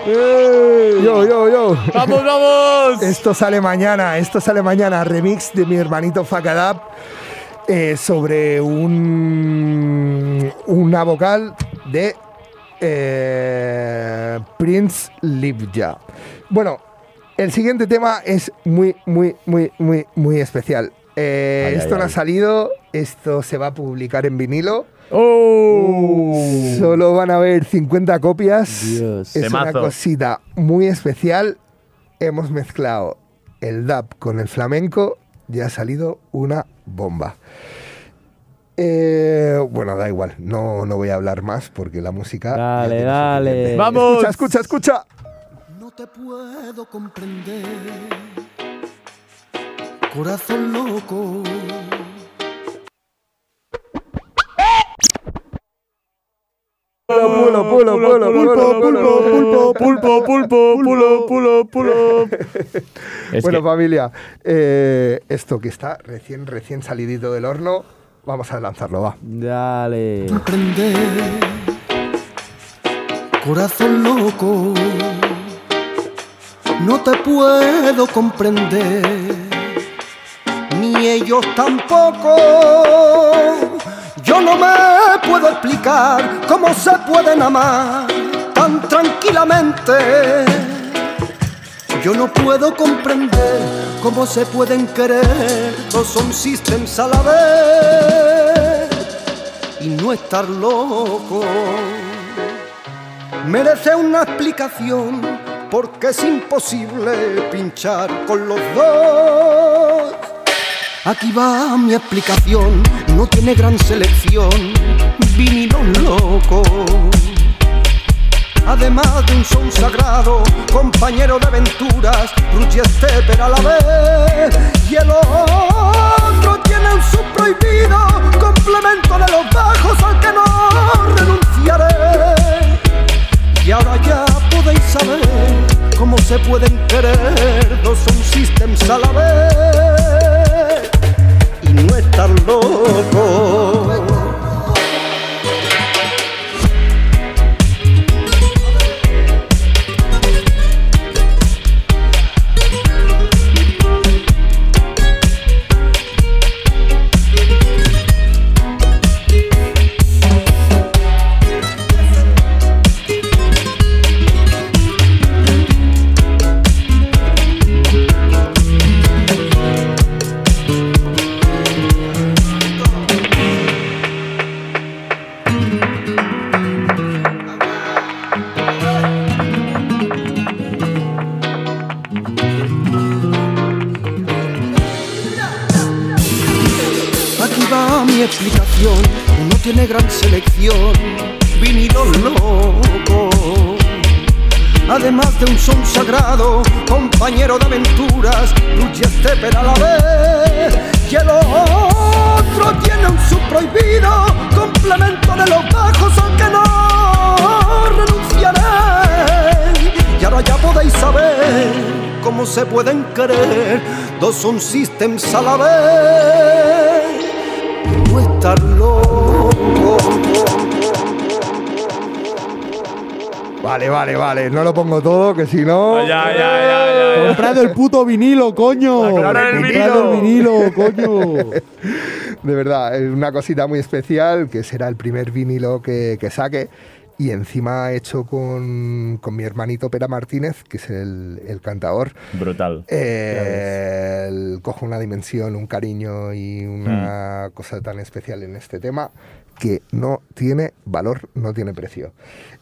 S1: Yo, yo, yo.
S2: ¡Vamos, vamos!
S1: Esto sale mañana, esto sale mañana. Remix de mi hermanito Fakadab eh, sobre un, una vocal de eh, Prince Livja. Bueno, el siguiente tema es muy, muy, muy, muy, muy especial. Eh,
S8: Ay,
S1: esto
S8: ay,
S1: no ha
S8: ay.
S1: salido, esto se va a publicar en vinilo.
S2: ¡Oh!
S1: Solo van a haber 50 copias.
S8: Dios.
S1: Es una
S8: Temazo.
S1: cosita muy especial. Hemos mezclado el dub con el flamenco y ha salido una bomba. Eh, bueno, da igual, no, no voy a hablar más porque la música. ya
S3: Dale,
S1: tiene
S3: dale.
S1: suficiente.
S3: Vamos.
S1: Escucha, escucha, escucha.
S7: puedo comprender. Corazón loco.
S1: Pulo, pulo, pulo, pulo,
S2: pulpo, pulpo, pulpo, pulo, pulo, pulo.
S1: bueno, familia, eh, esto que está recién, recién salidito del horno, vamos a lanzarlo, va.
S3: Dale.
S7: Corazón loco, no te puedo comprender, ni ellos tampoco. Yo no me puedo explicar cómo se pueden amar tan tranquilamente. Yo no puedo comprender cómo se pueden querer dos on systems a la vez y no estar loco. Merece una explicación porque es imposible pinchar con los dos. Aquí va mi explicación, no tiene gran selección, vinilo loco. Además de un son sagrado, compañero de aventuras, Ruchi Stepper a la vez. Y el otro tiene un subprohibido, complemento de los bajos al que no renunciaré. Y ahora ya podéis saber cómo se pueden querer dos son systems a la vez y no estar locos. Aquí va mi explicación, no tiene gran selección, vinilo loco. Además de un son sagrado, compañero de aventuras, lucha Stepper a la vez. Y el otro tiene un subprohibido, complemento de los bajos al que no renunciaré. Y ahora ya podéis saber cómo se pueden querer dos son systems a la vez. No estar loco.
S1: Vale, vale, vale. No lo pongo todo, que si no.
S2: Ah, Ya, ya, ya, ya.
S3: Comprad el puto vinilo, coño. Comprad
S1: el
S3: el vinilo, coño.
S1: De verdad, es una cosita muy especial, que será el primer vinilo que, que saque. Y encima hecho con, con mi hermanito Pera Martínez, que es el, el cantador.
S9: Oh.
S2: Brutal.
S1: Eh, el- cojo una dimensión, un cariño y
S2: Mm.
S1: una cosa tan especial en este tema que no tiene valor, no tiene precio.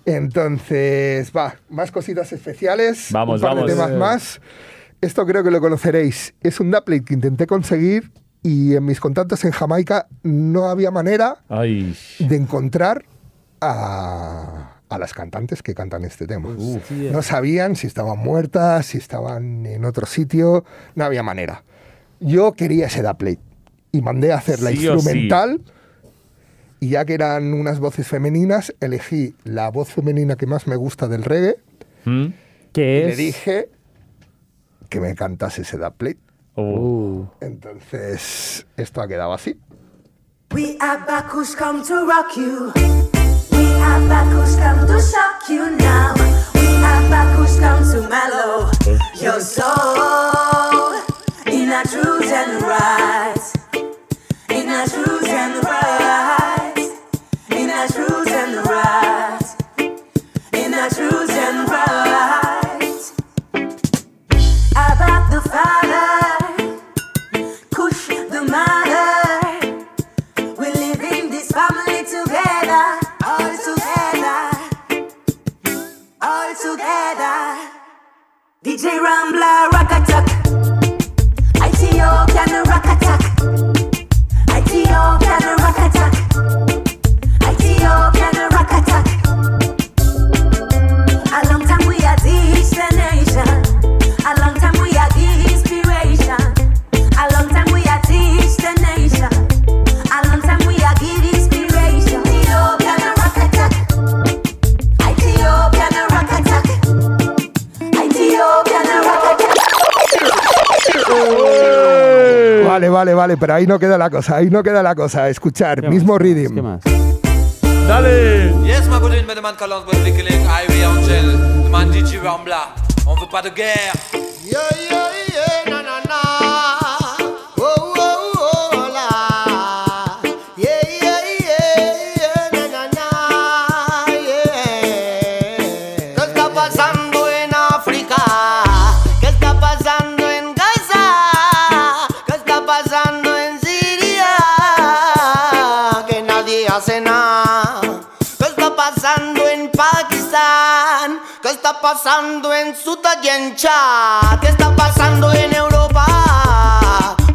S1: Entonces, va, más cositas especiales,
S2: Vamos,
S1: un par
S2: vamos.
S1: de temas
S2: Eh.
S1: más. Esto creo que lo conoceréis. Es un dubplate que intenté conseguir y en mis contactos en Jamaica no había manera
S2: Ay.
S1: de encontrar a, a las cantantes que cantan este tema.
S8: Pues Hostia.
S1: No sabían si estaban muertas, si estaban en otro sitio, no había manera. Yo quería ese dubplate y mandé a hacer la
S8: Sí o sí.
S1: instrumental y ya que eran unas voces femeninas, elegí la voz femenina que más me gusta del reggae
S3: ¿Qué
S1: y le
S3: es?
S1: dije que me cantase ese dubplate.
S2: Oh.
S3: Uh.
S1: Entonces, esto ha quedado así.
S12: We are back who's come to rock you. We are back who's come to shock you now. We are back DJ Rambler, rock attack. ITO can rock attack. ITO can rock attack. ITO can rock attack. A long time we are this the nation. A long time we are the inspiration. A long time we are this the nation. A long time we are the inspiration. ITO can rock attack. ITO can rock attack. ITO can rock attack.
S8: Eh.
S1: Vale, vale, vale, pero ahí no queda la cosa, ahí no queda la cosa. Escuchar, mismo reading.
S9: Uh.
S2: Dale
S13: Yes, ma godine, me demande Colin Bonne Vickling, Highway Angel, demande DJ Rambla. On veut pas de guerre.
S14: ¿Qué está pasando en África? ¿Qué está pasando en Gaza? ¿Qué está pasando en Siria? Que nadie hace nada. ¿Qué está pasando en Pakistán? ¿Qué está pasando en Sudán y en Chad? ¿Qué está pasando en Europa?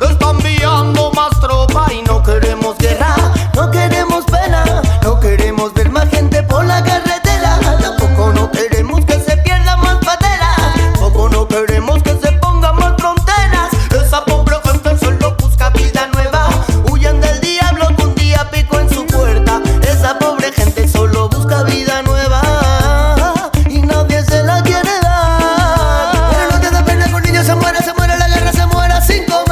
S14: Están enviando más tropa y no queremos guerra, no queremos pena, no queremos ver más gente por la carretera, tampoco no queremos que se pierdan más pateras, tampoco no queremos que se pongan más fronteras. Esa pobre gente solo busca vida nueva, huyen del diablo que un día pico en su puerta. Esa pobre gente solo busca vida nueva y nadie se la quiere dar. Pero no te da pena que un niño se muera, se muera la guerra, se muera sin comer.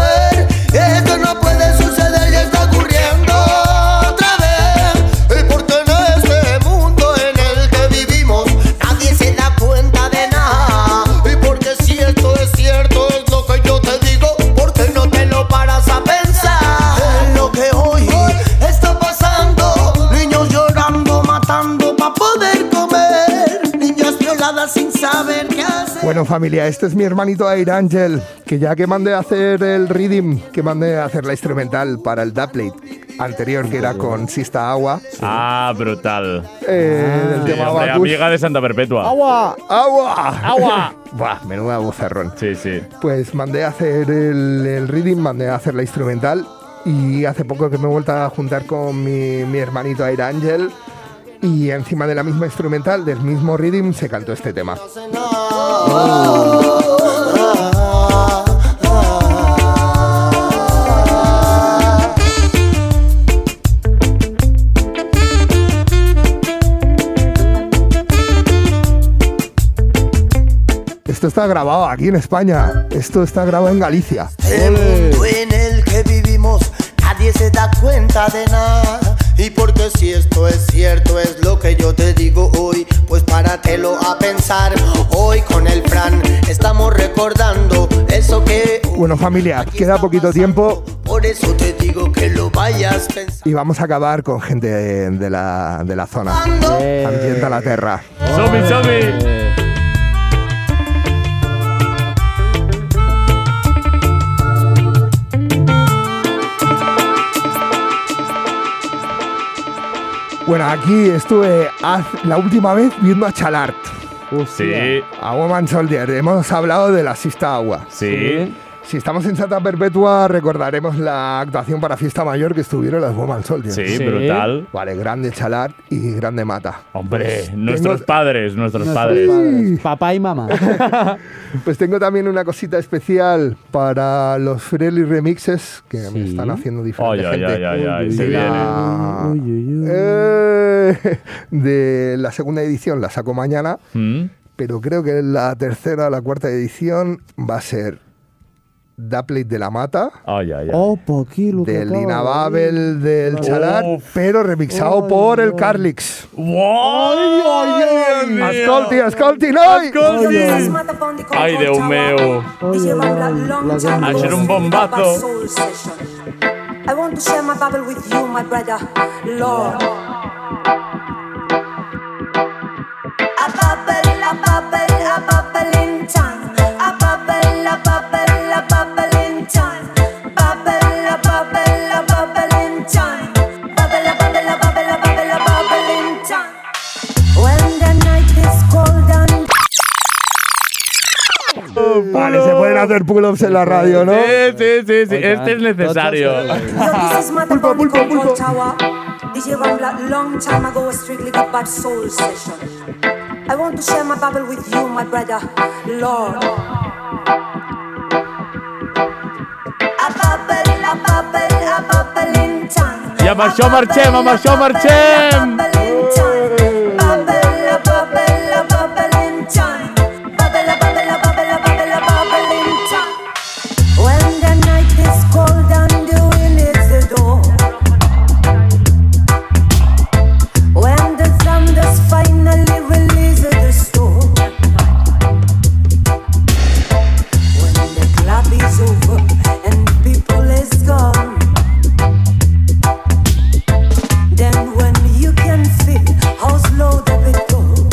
S14: Esto no puede suceder y está ocurriendo otra vez. Y porque en este mundo en el que vivimos nadie se da cuenta de nada. Y porque si esto es cierto es lo que yo te digo, porque no te lo paras a pensar. Es lo que hoy está pasando. Niños llorando, matando para poder comer. Niñas violadas sin saber qué hacer.
S1: Bueno, familia, este es mi hermanito Air Angel, que ya que mandé a hacer el reading, que mandé a hacer la instrumental para el Daplate anterior, que era con Sista Agua.
S2: Ah, brutal.
S1: Eh, del
S2: Ah, Sí,
S1: tema
S2: hombre,
S1: Abacus.
S2: amiga de Santa Perpetua.
S1: ¡Agua! ¡Agua!
S2: ¡Agua!
S1: Buah, menuda bozarrón.
S2: Sí, sí.
S1: Pues mandé a hacer el, el reading, mandé a hacer la instrumental y hace poco que me he vuelto a juntar con mi, mi hermanito Air Angel y encima de la misma instrumental, del mismo reading, se cantó este tema. Esto está grabado aquí en España, esto está grabado en Galicia.
S14: mundo en el que vivimos nadie se da cuenta de nada. Y porque si esto es cierto es lo que yo te digo hoy, pues páratelo a pensar. Hoy con el Fran estamos recordando eso que
S1: Bueno familia, queda poquito tiempo
S14: por eso te digo que lo vayas pensando.
S1: y vamos a acabar con gente de, de la, de la zona.
S14: Eh.
S1: Ambienta la tierra.
S2: ¡Somi, somi!
S1: Bueno, aquí estuve haz- la última vez viendo a Chalart.
S2: Sí.
S1: A Woman Soldier. Hemos hablado de la Sista Agua.
S2: Sí.
S1: Si estamos en Santa Perpetua, recordaremos la actuación para Fiesta Mayor que estuvieron las Woman Soldier.
S2: Sí, Sí. brutal.
S1: Vale, grande Chalart y grande Mata.
S2: Hombre,
S1: Pues
S2: nuestros
S1: tengo-
S2: padres, nuestros
S1: Nuestros
S2: padres.
S1: padres.
S3: Papá y mamá.
S1: Pues tengo también una cosita especial para los Frelly Remixes que me están haciendo diferente
S2: Ay, ay,
S1: gente.
S2: ay, ay, ay, se
S1: de,
S3: Ah.
S1: la, Eh, de la segunda edición la saco mañana,
S2: Mm.
S1: pero creo que la tercera o la cuarta edición va a ser Daplate de la Mata,
S2: Ay, ay, ay.
S1: Oh.
S3: Opa, aquí Oh, lo que
S1: del
S3: acaba de
S1: Inababel del
S3: Uf.
S1: Chalar, pero remixado por el Carlix.
S2: Ai, ai, ai, Dios mío.
S1: Ascolti, ascolti, noi!
S2: Ascolti. Ai, Déu meu. Això era un bombazo.
S12: I want to share my bubble with you, my brother, Lord. A bubble, a bubble, a bubble in time. A bubble, a bubble, a bubble in time. Bubble, a bubble, a bubble in time. Bubble, a bubble, a bubble, a bubble, a bubble in time. When the night is cold and
S1: Vale, se pueden hacer pull-ups en la radio, ¿no?
S2: Sí, sí, sí, sí. este es necesario.
S12: This motherfucker called Gold Tower. DJ Rambla, long time ago, a strictly got bad soul session. I want to share my bubble with you, my brother, Lord. A bubble, a bubble, a bubble in time.
S2: I amb això marxem, amb això marxem!
S12: Bubble, a bubble, a bubble in time. Bubble, a bubble, a bubble, a bubble, a bubble in time. When the night is cold and the wind hits the door. When the thunders finally release the storm. When the club is over and people is gone. Then when you can feel how slow the beat goes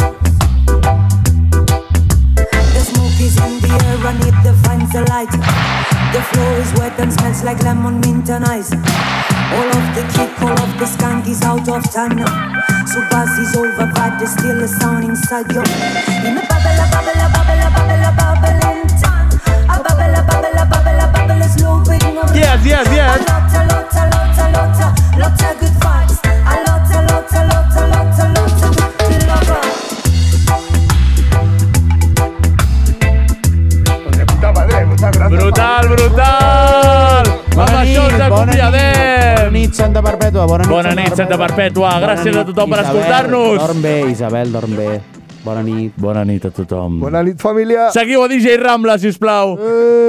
S12: The smoke is in the air and it defines the light The floor is wet and smells like lemon mint and ice All of the kick, all of the skunk is out of time now So buzz is over but there's still a sound inside you In a bubble, a bubble, a bubble, a bubble, a bubble in time A bubble, a bubble, a bubble, a bubble is low with no
S2: Yes, yes, yes.
S12: A lot, a lot, a lot, a lot, a lot of good vibes A lot, a lot, a lot, a lot, a lot of good lovers
S2: Brutal, brutal! Amb això ens
S3: Bona
S2: acomiadem!
S3: nit, Santa Perpètua. Bona nit,
S2: Bona nit, Santa Perpètua. Gràcies a tothom per
S3: Isabel.
S2: escoltar-nos.
S3: Dorm bé, Isabel, dorm bé. Bona nit.
S2: Bona nit a tothom.
S1: Bona nit, família. Eh.
S2: Seguiu a DJ Rambla, si us plau.